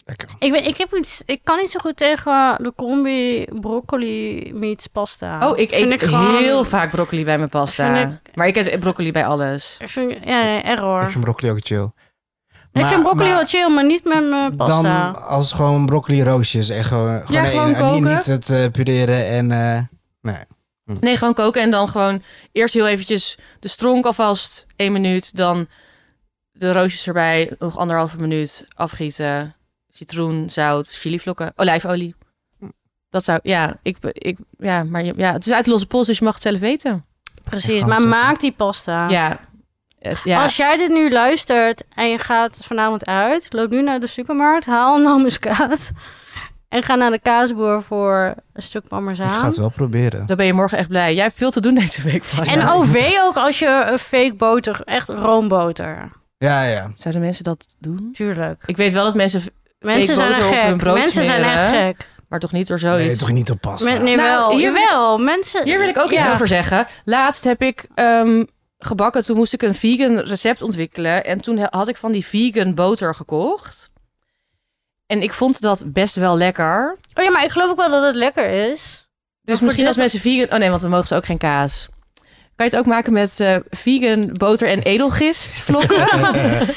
Speaker 3: Lekker.
Speaker 2: Ik, ben, ik, heb niet, ik kan niet zo goed tegen de combi broccoli meets pasta.
Speaker 1: Oh, ik
Speaker 2: Vind
Speaker 1: eet
Speaker 2: gewoon-
Speaker 1: heel vaak broccoli bij mijn pasta.
Speaker 2: Vind
Speaker 1: Maar ik eet broccoli bij alles.
Speaker 2: Vind, ik- ja, ja, error.
Speaker 3: Ik
Speaker 2: Ik,
Speaker 3: vind broccoli ook chill.
Speaker 2: vind broccoli
Speaker 3: maar
Speaker 2: wel chill, maar niet met mijn pasta.
Speaker 3: Dan als gewoon broccoli roosjes. En gewoon, gewoon,
Speaker 1: gewoon
Speaker 3: één. En
Speaker 1: koken.
Speaker 3: niet, niet het eh, pureren en... eh,
Speaker 1: Nee, gewoon koken en dan gewoon eerst heel eventjes de stronk alvast. één minuut. Dan de roosjes erbij. Nog anderhalve minuut afgieten. Citroen, zout, chilivlokken, olijfolie. Dat zou, ja, ik, ik, ja, maar je- ja, het is uit de losse pols, dus je mag het zelf weten.
Speaker 2: Precies,
Speaker 3: gaan
Speaker 2: maar
Speaker 3: zetten.
Speaker 2: maak die pasta.
Speaker 1: Ja. Eh, ja.
Speaker 2: Als jij dit nu luistert en je gaat vanavond uit, loop nu naar de supermarkt, haal een nomuskaat [laughs] en ga naar de kaasboer voor een stuk
Speaker 3: ik ga
Speaker 2: parmezaan.
Speaker 3: het wel proberen.
Speaker 1: Dan ben je morgen echt blij. Jij hebt veel te doen deze week. Florian.
Speaker 2: En OV ook als je een fake boter, echt roomboter.
Speaker 3: Ja, ja.
Speaker 1: Zouden mensen dat doen?
Speaker 2: Tuurlijk.
Speaker 1: Ik weet wel dat mensen fake
Speaker 2: Mensen zijn
Speaker 1: boter
Speaker 2: echt
Speaker 1: op hun
Speaker 2: gek.
Speaker 1: brood
Speaker 2: Mensen zijn
Speaker 1: smeren,
Speaker 2: echt gek.
Speaker 1: Maar toch niet door
Speaker 3: Nee,
Speaker 1: zoiets.
Speaker 3: toch niet op pasta. [laughs]
Speaker 2: Men, nee,
Speaker 1: Nou,
Speaker 2: wel.
Speaker 1: hier wil
Speaker 2: Jawel, mensen...
Speaker 1: Hier wil ik ook iets
Speaker 2: Ja.
Speaker 1: over zeggen. Laatst heb ik ehm, gebakken. Toen moest ik een vegan recept ontwikkelen. En toen he- had ik van die vegan boter gekocht. En ik vond dat best wel lekker.
Speaker 2: Oh ja, maar ik geloof ook wel dat het lekker is.
Speaker 1: Dus
Speaker 2: voor
Speaker 1: misschien als
Speaker 2: dit-
Speaker 1: mensen vegan... Oh nee, want dan mogen ze ook geen kaas. Kan je het ook maken met eh, vegan boter en edelgist vlokken?
Speaker 2: [laughs]
Speaker 1: Oké,
Speaker 3: Eh,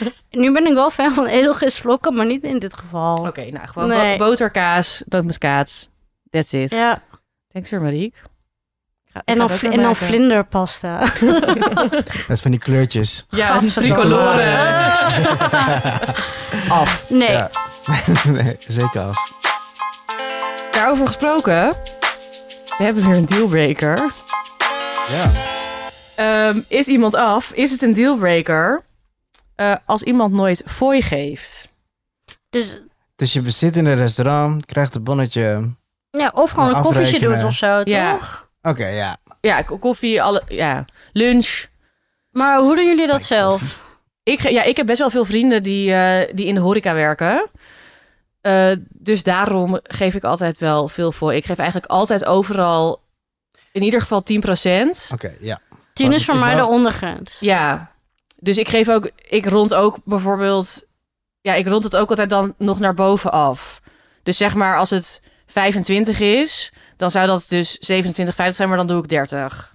Speaker 2: Nu ben ik wel fan van edelgistvlokken, maar niet in dit geval.
Speaker 1: nou gewoon
Speaker 2: Nee.
Speaker 1: bo- boter, kaas, doodmuskaat. That's it.
Speaker 2: Ja.
Speaker 1: Thanks weer, Mariek. Ik ga- ik
Speaker 2: En
Speaker 1: ga
Speaker 2: dan,
Speaker 1: het ook
Speaker 2: vli-
Speaker 1: weer
Speaker 2: en dan
Speaker 1: maken.
Speaker 2: vlinderpasta. [laughs]
Speaker 3: Met van die kleurtjes. [laughs]
Speaker 1: Ja, die
Speaker 2: Gadverdamme.
Speaker 1: tricoloren. Af.
Speaker 2: [laughs] Nee.
Speaker 3: Ja. nee, zeker af.
Speaker 1: Daarover gesproken, we hebben weer een dealbreaker.
Speaker 3: Ja.
Speaker 1: Ehm, is iemand af? Is het een dealbreaker eh, als iemand nooit fooi geeft?
Speaker 2: Dus
Speaker 3: Dus je zit in een restaurant, krijgt een bonnetje. Oké,
Speaker 2: ja, of gewoon een
Speaker 3: Afrekenen.
Speaker 2: koffietje doet of zo,
Speaker 1: Ja.
Speaker 2: toch?
Speaker 3: ja.
Speaker 1: Ja, k- koffie, alle, ja, lunch.
Speaker 2: Maar hoe doen jullie dat
Speaker 3: Bij
Speaker 2: zelf?
Speaker 1: Ik, ge- ja, ik heb best wel veel vrienden die, eh, die in de horeca werken. Eh, dus daarom geef ik altijd wel veel voor. Ik geef eigenlijk altijd overal in ieder geval 10%.
Speaker 3: Oké, ja.
Speaker 2: Tien
Speaker 3: Maar
Speaker 2: is voor
Speaker 3: Oh, ik
Speaker 2: mij de
Speaker 3: wou-
Speaker 2: ondergrens.
Speaker 1: Ja, dus ik geef ook, ik rond ook bijvoorbeeld, ja, ik rond het ook altijd dan nog naar boven af. Dus zeg maar als het 25 is, dan zou dat dus 27, 50 zijn, maar dan doe ik [laughs] 30.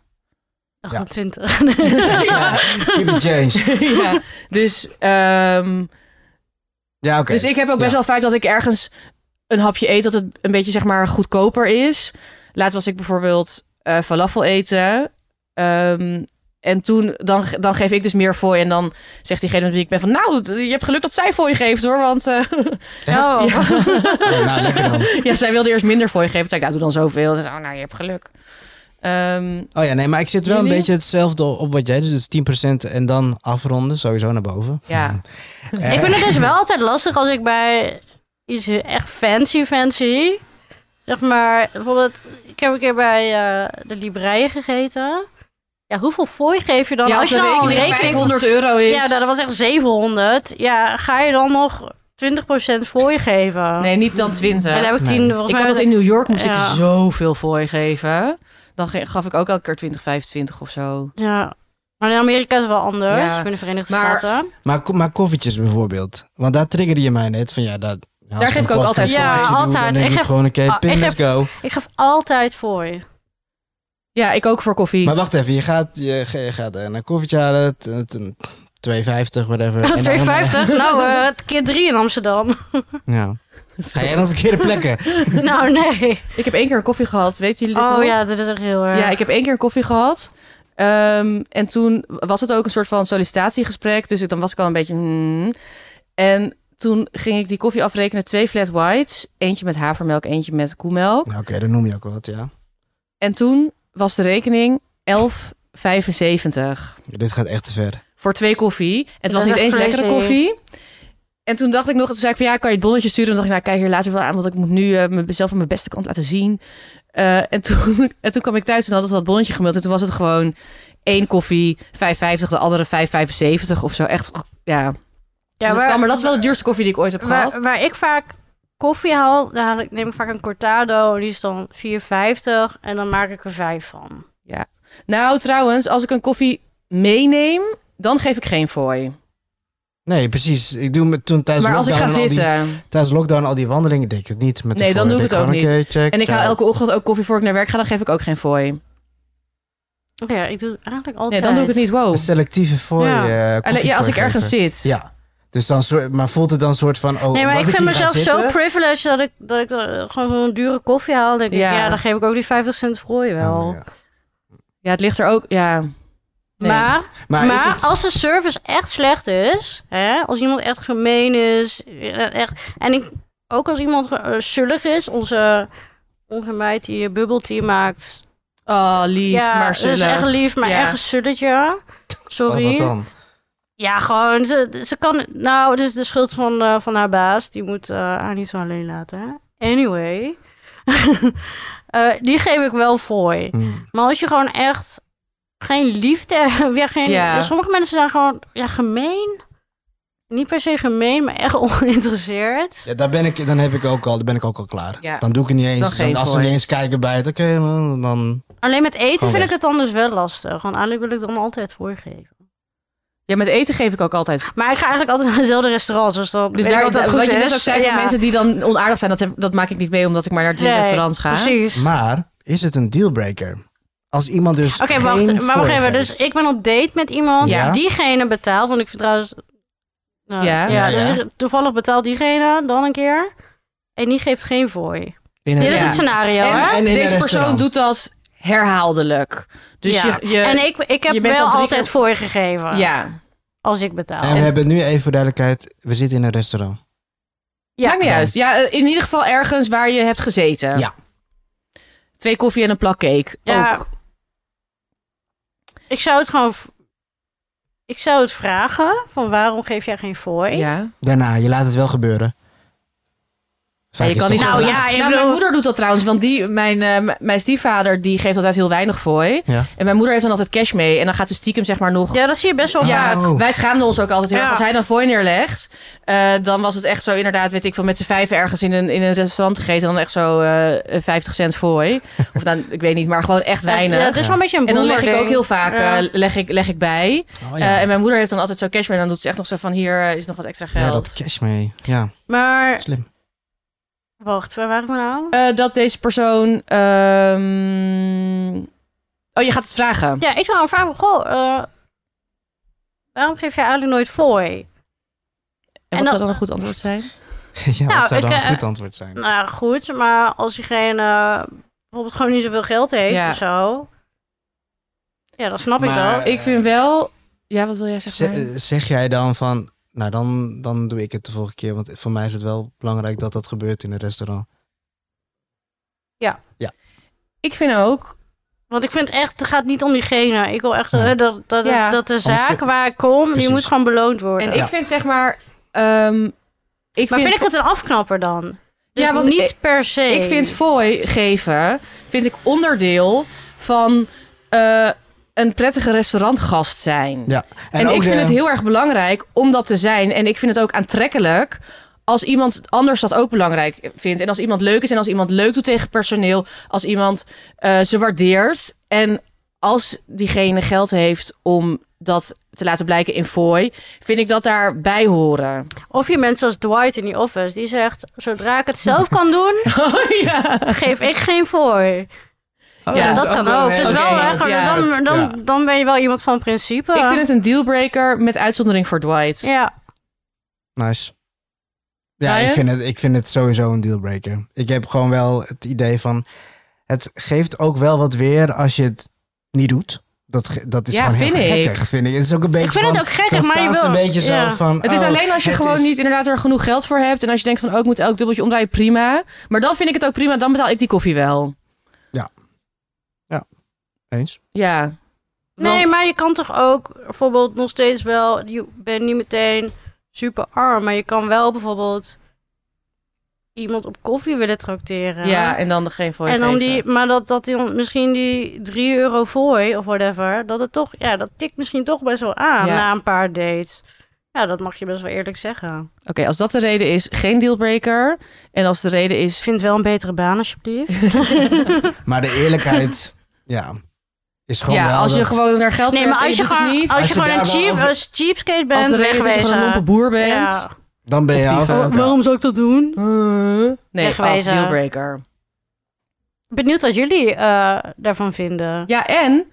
Speaker 2: 28.
Speaker 3: Keep it change.
Speaker 1: ja, dus, ehm,
Speaker 2: [laughs]
Speaker 3: Ja, oké.
Speaker 1: dus ik heb ook best
Speaker 3: Ja.
Speaker 1: wel vaak dat ik ergens een hapje eet dat het een beetje zeg maar goedkoper is. Laatst was ik bijvoorbeeld eh falafel eten. Ehm, en toen, dan, dan geef ik dus meer voor. En dan zegt diegene met wie ik ben van... Nou, d- je hebt geluk dat zij voor je geeft hoor. Want
Speaker 2: [laughs]
Speaker 1: eh, [laughs]
Speaker 3: Echt?
Speaker 2: Oh.
Speaker 3: Ja, nou, lekker dan.
Speaker 1: ja, zij wilde eerst minder voor je geven. Toen zei ik, nou, doe dan zoveel. Ze zei, oh, nou, je hebt geluk. Ehm,
Speaker 3: Oh ja, nee, maar ik zit wel een
Speaker 1: Jullie?
Speaker 3: beetje hetzelfde op wat jij doet. Dus 10% en dan afronden, sowieso naar boven.
Speaker 1: ja.
Speaker 3: [laughs]
Speaker 2: [laughs]
Speaker 3: Eh,
Speaker 2: Ik vind het dus wel altijd lastig als ik bij iets echt fancy fancy. Zeg maar, bijvoorbeeld, ik heb een keer bij eh, de Libreye gegeten. Ja, hoeveel fooi geef je dan
Speaker 1: ja,
Speaker 2: als
Speaker 1: als
Speaker 2: je
Speaker 1: de
Speaker 2: dan al
Speaker 1: rekening
Speaker 2: rekening...
Speaker 1: 500 euro is...
Speaker 2: Ja, dat was echt 700. Ja, ga je dan nog 20% fooi geven?
Speaker 1: Nee, niet dan
Speaker 2: En
Speaker 1: 20.
Speaker 2: daar heb ik
Speaker 3: Nee.
Speaker 2: 10... volgens
Speaker 1: Ik
Speaker 2: mij
Speaker 1: had dat
Speaker 2: was
Speaker 1: in New York, moest
Speaker 2: Ja.
Speaker 1: ik zoveel voor je geven. Dan ge- gaf ik ook elke keer 20, 25 of zo.
Speaker 2: Ja. Maar in Amerika is het wel anders.
Speaker 1: Ja.
Speaker 2: Ik ben de Verenigde
Speaker 1: Maar-
Speaker 2: Staten.
Speaker 3: Maar, ko- maar koffietjes bijvoorbeeld. Want daar triggerde je mij net van ja, dat. Daar
Speaker 1: geef ik ook altijd
Speaker 2: voor. Ja, altijd.
Speaker 3: Dan denk
Speaker 2: Ik
Speaker 3: ik,
Speaker 2: geef-
Speaker 3: gewoon een keer
Speaker 2: Ah,
Speaker 3: pin,
Speaker 2: ik
Speaker 3: let's go.
Speaker 2: Ik geef altijd fooi.
Speaker 1: Ja, ik ook voor koffie. [laughs]
Speaker 3: Maar wacht even, je gaat, je, ge- je gaat eh, een koffietje halen, t- t- 2,50,
Speaker 1: [laughs]
Speaker 2: [laughs]
Speaker 3: whatever. En dan-
Speaker 2: 2,50? Nou, eh, keer 3 in Amsterdam.
Speaker 3: [laughs] ja. Ga jij naar verkeerde
Speaker 1: [laughs]
Speaker 3: plekken?
Speaker 2: nou, nee.
Speaker 1: Ik heb één keer een koffie gehad. Weet jullie dit
Speaker 2: Oh
Speaker 1: nog?
Speaker 2: ja, dat is echt heel erg.
Speaker 1: Ja, ik heb één keer een koffie gehad. Ehm, en toen was het ook een soort van sollicitatiegesprek. Dus ik, dan was ik al een beetje... hmm. En toen ging ik die koffie afrekenen. Twee flat whites. Eentje met havermelk, eentje met koemelk.
Speaker 3: Nou, Oké, dan noem je ook wat, ja.
Speaker 1: En toen was de rekening 11,75
Speaker 3: Ja, Dit gaat echt te ver.
Speaker 1: voor twee koffie. En het
Speaker 2: Dat
Speaker 1: was
Speaker 2: is
Speaker 1: niet
Speaker 2: echt
Speaker 1: eens lekkere
Speaker 2: crazy.
Speaker 1: koffie. En toen dacht ik nog, toen zei ik van ja, kan je het bonnetje sturen? En toen dacht ik, nou kijk hier later wel aan, want ik moet nu eh, mezelf aan mijn beste [laughs] kant laten zien. Eh, en, toen, en toen kwam ik thuis en hadden ze dat bonnetje gemeld. En toen was het gewoon 1,75 één koffie 5,50, de andere 5,75 of zo. Echt, ja.
Speaker 2: Ja,
Speaker 1: dat
Speaker 2: waar-
Speaker 1: kan, maar dat is wel de duurste koffie die ik ooit heb gehad.
Speaker 2: Waar, waar ik vaak koffie haal, dan haal ik, neem ik vaak een cortado. Die is dan 4,50 en dan maak ik er 5 van.
Speaker 1: Nou, trouwens, als ik een koffie meeneem, dan geef ik geen fooi.
Speaker 3: Nee, precies. Ik doe me toen tijdens
Speaker 1: Maar als ik
Speaker 3: lockdown
Speaker 1: ga
Speaker 3: en al die-
Speaker 1: zitten
Speaker 3: tijdens lockdown al die wandelingen deed ik het niet. Met de
Speaker 1: Nee, dan
Speaker 3: voordeel.
Speaker 1: doe ik
Speaker 3: Deed
Speaker 1: het ook
Speaker 3: gewoon, oké, check,
Speaker 1: en ik haal
Speaker 3: ja.
Speaker 1: elke ochtend ook koffie voor ik naar werk ga, dan geef ik ook geen fooi.
Speaker 2: Oké, ja, ik doe het eigenlijk altijd.
Speaker 1: Nee, dan doe ik het niet. Wow.
Speaker 3: Een selectieve voor
Speaker 2: Oh. Ja.
Speaker 3: je.
Speaker 1: Alleen, ja, als ik ergens zit.
Speaker 3: Ja. Dus dan soort, maar voelt het dan soort van. Oh,
Speaker 2: Nee, maar
Speaker 3: omdat
Speaker 2: ik vind
Speaker 3: hier ga
Speaker 2: mezelf zo
Speaker 3: zitten-
Speaker 2: privileged dat ik, dat ik eh, gewoon zo'n dure koffie haal. Dan denk
Speaker 1: Ja.
Speaker 2: ik, ja, dan geef ik ook die 50 cent voor je wel.
Speaker 3: Oh, ja.
Speaker 1: Ja, het ligt er ook. Ja. Nee.
Speaker 2: Maar
Speaker 3: Maar,
Speaker 2: Maar,
Speaker 3: is het-
Speaker 2: als de service echt slecht is, hè, als iemand echt gemeen is, eh, echt, en ik, ook als iemand eh, zullig is, onze, onze meid die eh, bubbeltea maakt.
Speaker 1: Oh, lief,
Speaker 2: ja,
Speaker 1: maar
Speaker 2: ze is
Speaker 1: zullen.
Speaker 2: echt lief, maar
Speaker 1: Ja.
Speaker 2: echt een zulletje.
Speaker 3: oh, wat, wat
Speaker 2: Sorry.
Speaker 3: dan?
Speaker 2: ja, gewoon, ze, ze kan, nou, het is de schuld van, eh, van haar baas. Die moet eh, haar niet zo alleen laten. hè. Anyway. [laughs] Eh, die geef ik wel voor.
Speaker 3: Hmm.
Speaker 2: Maar als je gewoon echt geen liefde [laughs] hebt, ja, geen,
Speaker 1: Ja.
Speaker 2: sommige mensen zijn gewoon ja, gemeen. Niet per se gemeen, maar echt [laughs] ongeïnteresseerd.
Speaker 3: Ja, daar ben ik, dan heb ik ook al, dan ben ik ook al klaar.
Speaker 1: Ja.
Speaker 3: Dan doe ik het niet eens.
Speaker 1: Dan
Speaker 3: Dan
Speaker 1: geen
Speaker 3: als ze
Speaker 1: voor.
Speaker 3: niet eens kijken bij het, oké, dan- dan.
Speaker 2: Alleen met eten
Speaker 3: Gewoon
Speaker 2: vind
Speaker 3: weg.
Speaker 2: ik het dan dus wel lastig. Want eigenlijk wil ik dan altijd voorgeven.
Speaker 1: Ja, met eten geef ik ook altijd.
Speaker 2: Maar ik ga eigenlijk altijd naar dezelfde restaurants. Dus, dan
Speaker 1: Dus
Speaker 2: weet
Speaker 1: daar,
Speaker 2: ik dat
Speaker 1: dat
Speaker 2: dat
Speaker 1: wat
Speaker 2: goed
Speaker 1: je
Speaker 2: is.
Speaker 1: net ook zei, voor
Speaker 2: Ja,
Speaker 1: mensen die dan onaardig zijn, dat, heb- dat maak ik niet mee omdat ik maar naar de
Speaker 2: Nee,
Speaker 1: restaurants ga.
Speaker 2: Precies.
Speaker 3: Maar is het een dealbreaker? Als iemand dus.
Speaker 2: Oké,
Speaker 3: geen
Speaker 2: wacht. Maar wacht
Speaker 3: voorgeeft.
Speaker 2: even. Dus ik ben op date met iemand.
Speaker 3: Ja.
Speaker 2: Diegene betaalt. Want ik vind trouwens... nou,
Speaker 1: Ja.
Speaker 3: Ja,
Speaker 2: dus
Speaker 3: ja.
Speaker 2: toevallig betaalt diegene dan een keer. En die geeft geen fooi.
Speaker 3: In een-
Speaker 2: Dit is
Speaker 1: Ja.
Speaker 2: het scenario.
Speaker 1: En,
Speaker 2: hè?
Speaker 3: En in een
Speaker 1: deze persoon
Speaker 3: restaurant.
Speaker 1: doet dat herhaaldelijk. Dus
Speaker 2: Ja.
Speaker 1: je, je,
Speaker 2: en ik, ik heb
Speaker 1: je bent
Speaker 2: wel
Speaker 1: al drie
Speaker 2: altijd
Speaker 1: keer-
Speaker 2: voorgegeven.
Speaker 1: ja.
Speaker 2: Als ik betaal.
Speaker 3: En we hebben het nu even voor duidelijkheid. We zitten in een restaurant.
Speaker 2: Ja.
Speaker 1: maakt niet
Speaker 3: Dan.
Speaker 1: uit. Ja, eh, in ieder geval ergens waar je hebt gezeten.
Speaker 3: Ja.
Speaker 1: Twee koffie en een plak cake.
Speaker 2: Ja.
Speaker 1: Ook.
Speaker 2: Ik zou het gewoon. v- Ik zou het vragen: van waarom geef jij geen fooi?
Speaker 1: Ja.
Speaker 3: Daarna, je laat het wel gebeuren.
Speaker 1: Ja,
Speaker 3: Vaak
Speaker 1: je
Speaker 3: is
Speaker 1: kan
Speaker 3: het
Speaker 1: niet
Speaker 3: toch
Speaker 2: Nou,
Speaker 1: zo
Speaker 3: wel-
Speaker 2: ja,
Speaker 1: laat.
Speaker 2: ik
Speaker 1: Nou, mijn
Speaker 2: bedoel-
Speaker 1: moeder doet dat trouwens, want die, mijn, eh, m- mijn stiefvader die geeft altijd heel weinig fooi.
Speaker 3: Ja.
Speaker 1: En mijn moeder heeft dan altijd cash mee. En dan gaat ze stiekem zeg maar nog...
Speaker 2: Ja, dat zie je best wel
Speaker 1: Ja,
Speaker 2: vaak.
Speaker 3: Oh.
Speaker 1: wij schaamden ons ook altijd heel
Speaker 2: Ja.
Speaker 1: erg. Als hij dan fooi neerlegt, eh, dan was het echt zo inderdaad, weet ik veel, met z'n vijf ergens in een, in een restaurant gegeten. En dan echt zo eh 50 cent fooi. Of dan, ik weet niet, maar gewoon echt weinig.
Speaker 2: Ja, het is wel een beetje een
Speaker 1: en dan leg ik
Speaker 2: boomerding.
Speaker 1: ook heel vaak
Speaker 2: Ja.
Speaker 1: eh, leg ik, leg ik bij.
Speaker 3: Oh,
Speaker 1: Eh,
Speaker 3: ja.
Speaker 1: en mijn moeder heeft dan altijd zo cash mee. En dan doet ze echt nog zo van, hier eh, is nog wat extra geld.
Speaker 3: ja, dat cash mee. Ja,
Speaker 2: Maar
Speaker 3: slim. [laughs]
Speaker 2: wacht, waar waren we nou?
Speaker 1: Eh, dat deze persoon. ehm, Oh, je gaat het vragen.
Speaker 2: Ja, ik zou gewoon vragen: goh, eh, waarom geef jij eigenlijk nooit fooi?
Speaker 1: En wat
Speaker 2: En dan-
Speaker 1: zou dan een goed antwoord zijn?
Speaker 3: ja,
Speaker 2: Nou,
Speaker 3: wat zou dan
Speaker 2: ik,
Speaker 3: een
Speaker 2: eh,
Speaker 3: goed antwoord zijn?
Speaker 2: Nou goed, maar als diegene eh, bijvoorbeeld gewoon niet zoveel geld heeft
Speaker 1: Ja.
Speaker 2: of zo. Ja, dan snap
Speaker 3: Maar-
Speaker 2: ik dat.
Speaker 1: Ik vind wel. Ja, wat wil jij zeggen?
Speaker 3: Eh. Ze- eh, zeg jij dan van, nou dan, dan doe ik het de volgende keer, want voor mij is het wel belangrijk dat dat gebeurt in een restaurant.
Speaker 1: Ik vind ook.
Speaker 2: Want ik vind echt, het gaat niet om diegene. Ik wil echt
Speaker 3: Nee.
Speaker 2: eh, dat, dat,
Speaker 1: Ja.
Speaker 2: dat de
Speaker 3: Anders-
Speaker 2: zaak waar ik kom,
Speaker 3: Precies.
Speaker 2: die moet gewoon beloond worden.
Speaker 1: En
Speaker 3: Ja.
Speaker 1: ik vind zeg maar. ehm, ik
Speaker 2: maar
Speaker 1: vind,
Speaker 2: vind ik het een afknapper dan? Dus
Speaker 1: Ja,
Speaker 2: ja,
Speaker 1: want
Speaker 2: want niet
Speaker 1: ik-
Speaker 2: per se.
Speaker 1: ik vind fooi geven. Vind ik onderdeel van. eh, een prettige restaurantgast zijn.
Speaker 3: Ja.
Speaker 1: En, ik
Speaker 3: ook
Speaker 1: vind
Speaker 3: de-
Speaker 1: het heel erg belangrijk om dat te zijn. En ik vind het ook aantrekkelijk als iemand anders dat ook belangrijk vindt. En als iemand leuk is en als iemand leuk doet tegen personeel. Als iemand eh, ze waardeert. En als diegene geld heeft om dat te laten blijken in fooi, vind ik dat daarbij horen.
Speaker 2: Of je mensen als Dwight in die office, die zegt: zodra ik het zelf kan
Speaker 3: [laughs]
Speaker 2: doen,
Speaker 1: [laughs] Oh ja.
Speaker 2: geef ik geen voor.
Speaker 3: Oh,
Speaker 1: Ja,
Speaker 2: Ja, dat
Speaker 3: is
Speaker 2: kan
Speaker 3: wel
Speaker 2: ook.
Speaker 3: een
Speaker 2: Dus
Speaker 3: hele
Speaker 2: wel,
Speaker 1: oké,
Speaker 2: hè,
Speaker 1: dat-
Speaker 2: gewoon,
Speaker 1: ja.
Speaker 2: dan, dan,
Speaker 3: Ja.
Speaker 2: dan ben je wel iemand van principe.
Speaker 1: Ik vind het een dealbreaker met uitzondering voor Dwight.
Speaker 2: Ja,
Speaker 3: Nice. Ja,
Speaker 1: Ryan?
Speaker 3: ik vind, het, ik vind het sowieso een dealbreaker. Ik heb gewoon wel het idee van, het geeft ook wel wat weer als je het niet doet. Dat, ge- dat is
Speaker 1: Ja,
Speaker 3: gewoon heel
Speaker 1: vind ik.
Speaker 3: gekkig, vind ik. Het is ook een beetje
Speaker 2: ik vind
Speaker 3: van,
Speaker 2: het ook
Speaker 3: dan
Speaker 2: gek, maar je
Speaker 3: staan
Speaker 2: wil.
Speaker 3: ze een beetje zo
Speaker 2: ja.
Speaker 3: van...
Speaker 1: Het is
Speaker 3: oh,
Speaker 1: alleen als je
Speaker 3: het
Speaker 1: gewoon
Speaker 3: is-
Speaker 1: niet inderdaad er genoeg geld voor hebt. En als je denkt van oh, ik moet elk dubbeltje omdraaien, prima. Maar dan vind ik het ook prima. Dan betaal ik die koffie wel.
Speaker 3: Eens?
Speaker 1: Ja. Want-
Speaker 2: Nee, maar je kan toch ook bijvoorbeeld nog steeds wel. Je bent niet meteen super arm, maar je kan wel bijvoorbeeld iemand op koffie willen tracteren.
Speaker 1: Ja, en dan degene voor je
Speaker 2: en dan
Speaker 1: geven.
Speaker 2: die, maar dat, dat die, misschien die 3 euro fooi of whatever, dat het toch, ja, dat tikt misschien toch best wel aan
Speaker 1: Ja.
Speaker 2: na een paar dates. Ja, dat mag je best wel eerlijk zeggen.
Speaker 1: Oké, als dat de reden is, geen dealbreaker. En als de reden
Speaker 2: [laughs] Ik
Speaker 1: is...
Speaker 2: vind wel een betere
Speaker 1: [laughs]
Speaker 2: baan, alsjeblieft.
Speaker 3: Maar de eerlijkheid, ja, is gewoon
Speaker 1: ja,
Speaker 3: wel
Speaker 1: als je
Speaker 3: dat-
Speaker 1: gewoon naar geld
Speaker 2: nee,
Speaker 1: werkt
Speaker 2: maar
Speaker 1: en
Speaker 2: als je,
Speaker 1: doet het
Speaker 2: gewoon,
Speaker 1: niet...
Speaker 2: als
Speaker 3: Als
Speaker 2: je
Speaker 3: je
Speaker 2: gewoon een
Speaker 3: daar wel
Speaker 2: cheap,
Speaker 3: over-
Speaker 2: een cheapskate bent,
Speaker 1: Als de reden is dat je
Speaker 2: wegwezen.
Speaker 1: gewoon een lompe boer bent...
Speaker 2: Ja.
Speaker 3: Dan ben je
Speaker 1: Op die
Speaker 3: af.
Speaker 1: van-
Speaker 3: Oké.
Speaker 2: Waarom zou ik dat doen?
Speaker 1: Nee, af,
Speaker 2: Wegwezen.
Speaker 1: dealbreaker.
Speaker 2: Benieuwd wat jullie eh, daarvan vinden.
Speaker 1: Ja, en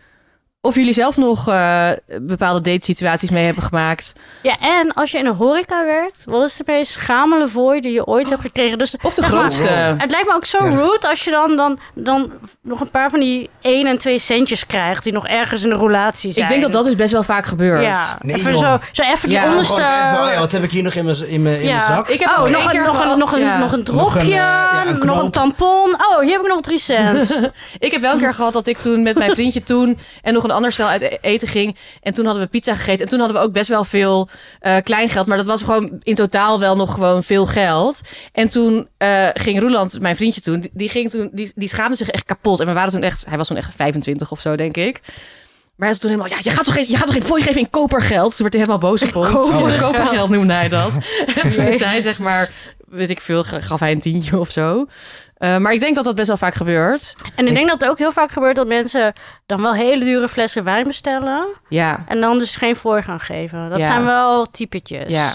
Speaker 1: of jullie zelf nog eh, bepaalde datesituaties mee hebben gemaakt.
Speaker 2: Ja, en als je in een horeca werkt, wat is de meest schamele vooi die je ooit hebt gekregen? Dus
Speaker 1: Of de
Speaker 2: Zeg maar-
Speaker 1: grootste.
Speaker 2: het lijkt me ook zo
Speaker 3: Ja.
Speaker 2: rude als je dan, dan, dan nog een paar van die 1 en 2 centjes krijgt die nog ergens in de roulatie zijn.
Speaker 1: Ik denk dat dat dus best wel vaak gebeurt.
Speaker 2: Ja,
Speaker 3: Nee,
Speaker 2: even
Speaker 3: joh.
Speaker 2: zo, zo even die
Speaker 1: Ja.
Speaker 2: onderste...
Speaker 3: Gewoon even, oh ja, wat heb ik hier nog in mijn in mijn in mijn
Speaker 2: Ja.
Speaker 3: zak?
Speaker 1: Ik heb
Speaker 2: Oh,
Speaker 1: één
Speaker 2: nog een,
Speaker 1: keer
Speaker 2: nog,
Speaker 1: gehad-
Speaker 2: een, nog, een,
Speaker 1: ja.
Speaker 2: nog een
Speaker 3: Nog
Speaker 2: dropje,
Speaker 3: een,
Speaker 2: nog een,
Speaker 3: eh, ja, een knoop.
Speaker 2: tampon. Oh, hier heb ik nog 3
Speaker 3: [laughs]
Speaker 2: cent.
Speaker 1: Ik heb wel een keer gehad dat ik toen met mijn vriendje toen en nog een ander stel uit e- eten ging. En toen hadden we pizza gegeten. En toen hadden we ook best wel veel eh, kleingeld. Maar dat was gewoon in totaal wel nog gewoon veel geld. En toen eh, ging Roeland, mijn vriendje toen, die- die, ging toen, die, die schaamde zich echt kapot. En we waren toen echt, hij was toen echt 25 of zo, denk ik. Maar hij was toen helemaal, ja, je gaat toch geen, je gaat toch geen fooi geven in kopergeld? Toen werd hij helemaal boos op ons.
Speaker 3: Kopergeld.
Speaker 1: kopergeld noemde hij dat. En toen is hij zeg maar, weet ik veel, gaf hij een tientje of zo. Eh, maar ik denk dat dat best wel vaak gebeurt.
Speaker 2: En ik
Speaker 3: Ik-
Speaker 2: denk dat het ook heel vaak gebeurt dat mensen dan wel hele dure flessen wijn bestellen.
Speaker 1: Ja.
Speaker 2: En dan dus geen voor gaan geven. Dat
Speaker 1: Ja.
Speaker 2: zijn wel typetjes.
Speaker 1: Ja,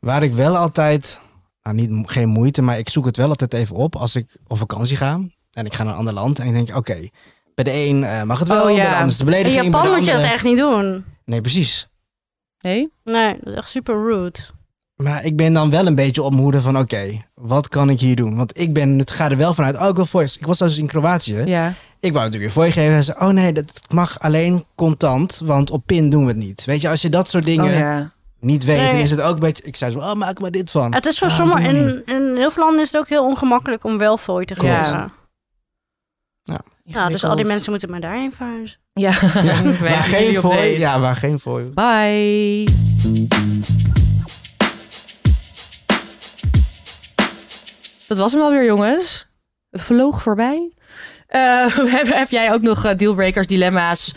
Speaker 3: Waar ik wel altijd, nou niet, mo- geen moeite, maar ik zoek het wel altijd even op als ik op vakantie ga en ik ga naar een ander land en ik denk, oké, bij de een eh, mag het wel,
Speaker 1: Oh, ja.
Speaker 3: bij de ander is de
Speaker 2: In
Speaker 3: belediging. bij
Speaker 2: Japan
Speaker 3: de
Speaker 2: moet je dat
Speaker 3: andere-
Speaker 2: echt niet doen.
Speaker 3: Nee, precies.
Speaker 1: nee?
Speaker 2: Nee, dat is echt super rude.
Speaker 3: Maar ik ben dan wel een beetje op mijn hoede van, oké, wat kan ik hier doen? Want ik ben, het ga er wel vanuit, oh, ik wil voice. Ik was dus in Kroatië.
Speaker 1: Ja.
Speaker 3: Ik wou natuurlijk weer voor je geven. Hij zei, oh nee, dat mag alleen contant, want op pin doen we het niet. Weet je, als je dat soort dingen
Speaker 1: Oh, ja.
Speaker 3: niet weet, dan
Speaker 2: Nee.
Speaker 3: is het ook een beetje... Ik zei zo, oh, maak er maar dit van.
Speaker 2: Het is voor
Speaker 3: Ah,
Speaker 2: sommige
Speaker 3: doe maar
Speaker 2: in, in heel veel landen is het ook heel ongemakkelijk om wel fooi te
Speaker 1: Klopt.
Speaker 2: geven. Ja. dus al die mensen moeten maar daarheen verhuizen.
Speaker 1: Ja, [laughs]
Speaker 3: Ja,
Speaker 1: wij
Speaker 3: waar
Speaker 1: hebben jullie
Speaker 3: geen
Speaker 1: op
Speaker 3: voor,
Speaker 1: date.
Speaker 3: ja, waar geen voor.
Speaker 1: Bye. Dat was hem alweer, jongens. Het vloog voorbij. Eh, [laughs] heb, heb jij ook nog eh, dealbreakers, dilemma's,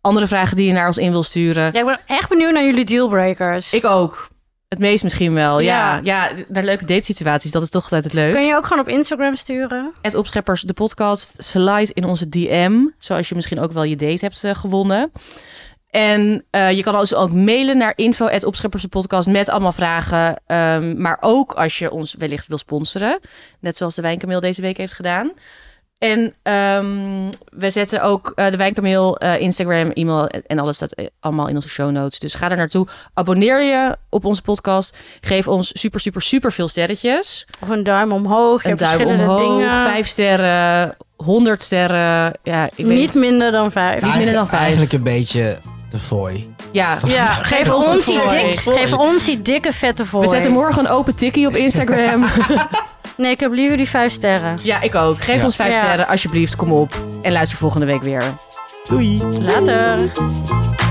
Speaker 1: andere vragen die je naar ons in wil sturen?
Speaker 2: Ja, ik ben echt benieuwd naar jullie dealbreakers.
Speaker 1: Ik ook. Het meest misschien wel. Ja,
Speaker 2: Ja.
Speaker 1: ja. naar leuke datesituaties. Dat is toch altijd het leukst.
Speaker 2: Kun je ook gewoon op Instagram sturen?
Speaker 1: Het Opscheppers, de podcast, slide in onze DM. Zoals je misschien ook wel je date hebt eh, gewonnen. En eh, je kan dus ook mailen naar info de podcast met allemaal vragen. Ehm, maar ook als je ons wellicht wil sponsoren. Net zoals de Wijnkameel deze week heeft gedaan. En ehm, we zetten ook eh, de Wijnkameel, eh, Instagram, e-mail en alles staat eh, allemaal in onze show notes. Dus ga daar naartoe. Abonneer je op onze podcast. Geef ons super, super, super veel sterretjes
Speaker 2: Of een duim omhoog? Je
Speaker 1: een
Speaker 2: hebt
Speaker 1: duim
Speaker 2: verschillende
Speaker 1: omhoog,
Speaker 2: dingen.
Speaker 1: vijf sterren, honderd sterren. Ja, ik weet
Speaker 2: Niet
Speaker 1: het.
Speaker 2: minder dan vijf.
Speaker 1: Ja. minder dan vijf.
Speaker 3: Eigenlijk een beetje de fooi.
Speaker 1: Ja,
Speaker 2: Ja, geef
Speaker 1: ons
Speaker 2: ons,
Speaker 1: een
Speaker 2: die
Speaker 1: fooi.
Speaker 2: dik, geef ons die dikke vette voor.
Speaker 1: we zetten morgen een open tikkie op Instagram.
Speaker 2: [laughs] Nee, ik heb liever die vijf sterren.
Speaker 1: ja, ik ook. Geef
Speaker 3: Ja.
Speaker 1: ons vijf
Speaker 2: Ja.
Speaker 1: sterren, alsjeblieft. Kom op. En luister volgende week weer.
Speaker 3: Doei!
Speaker 2: Later.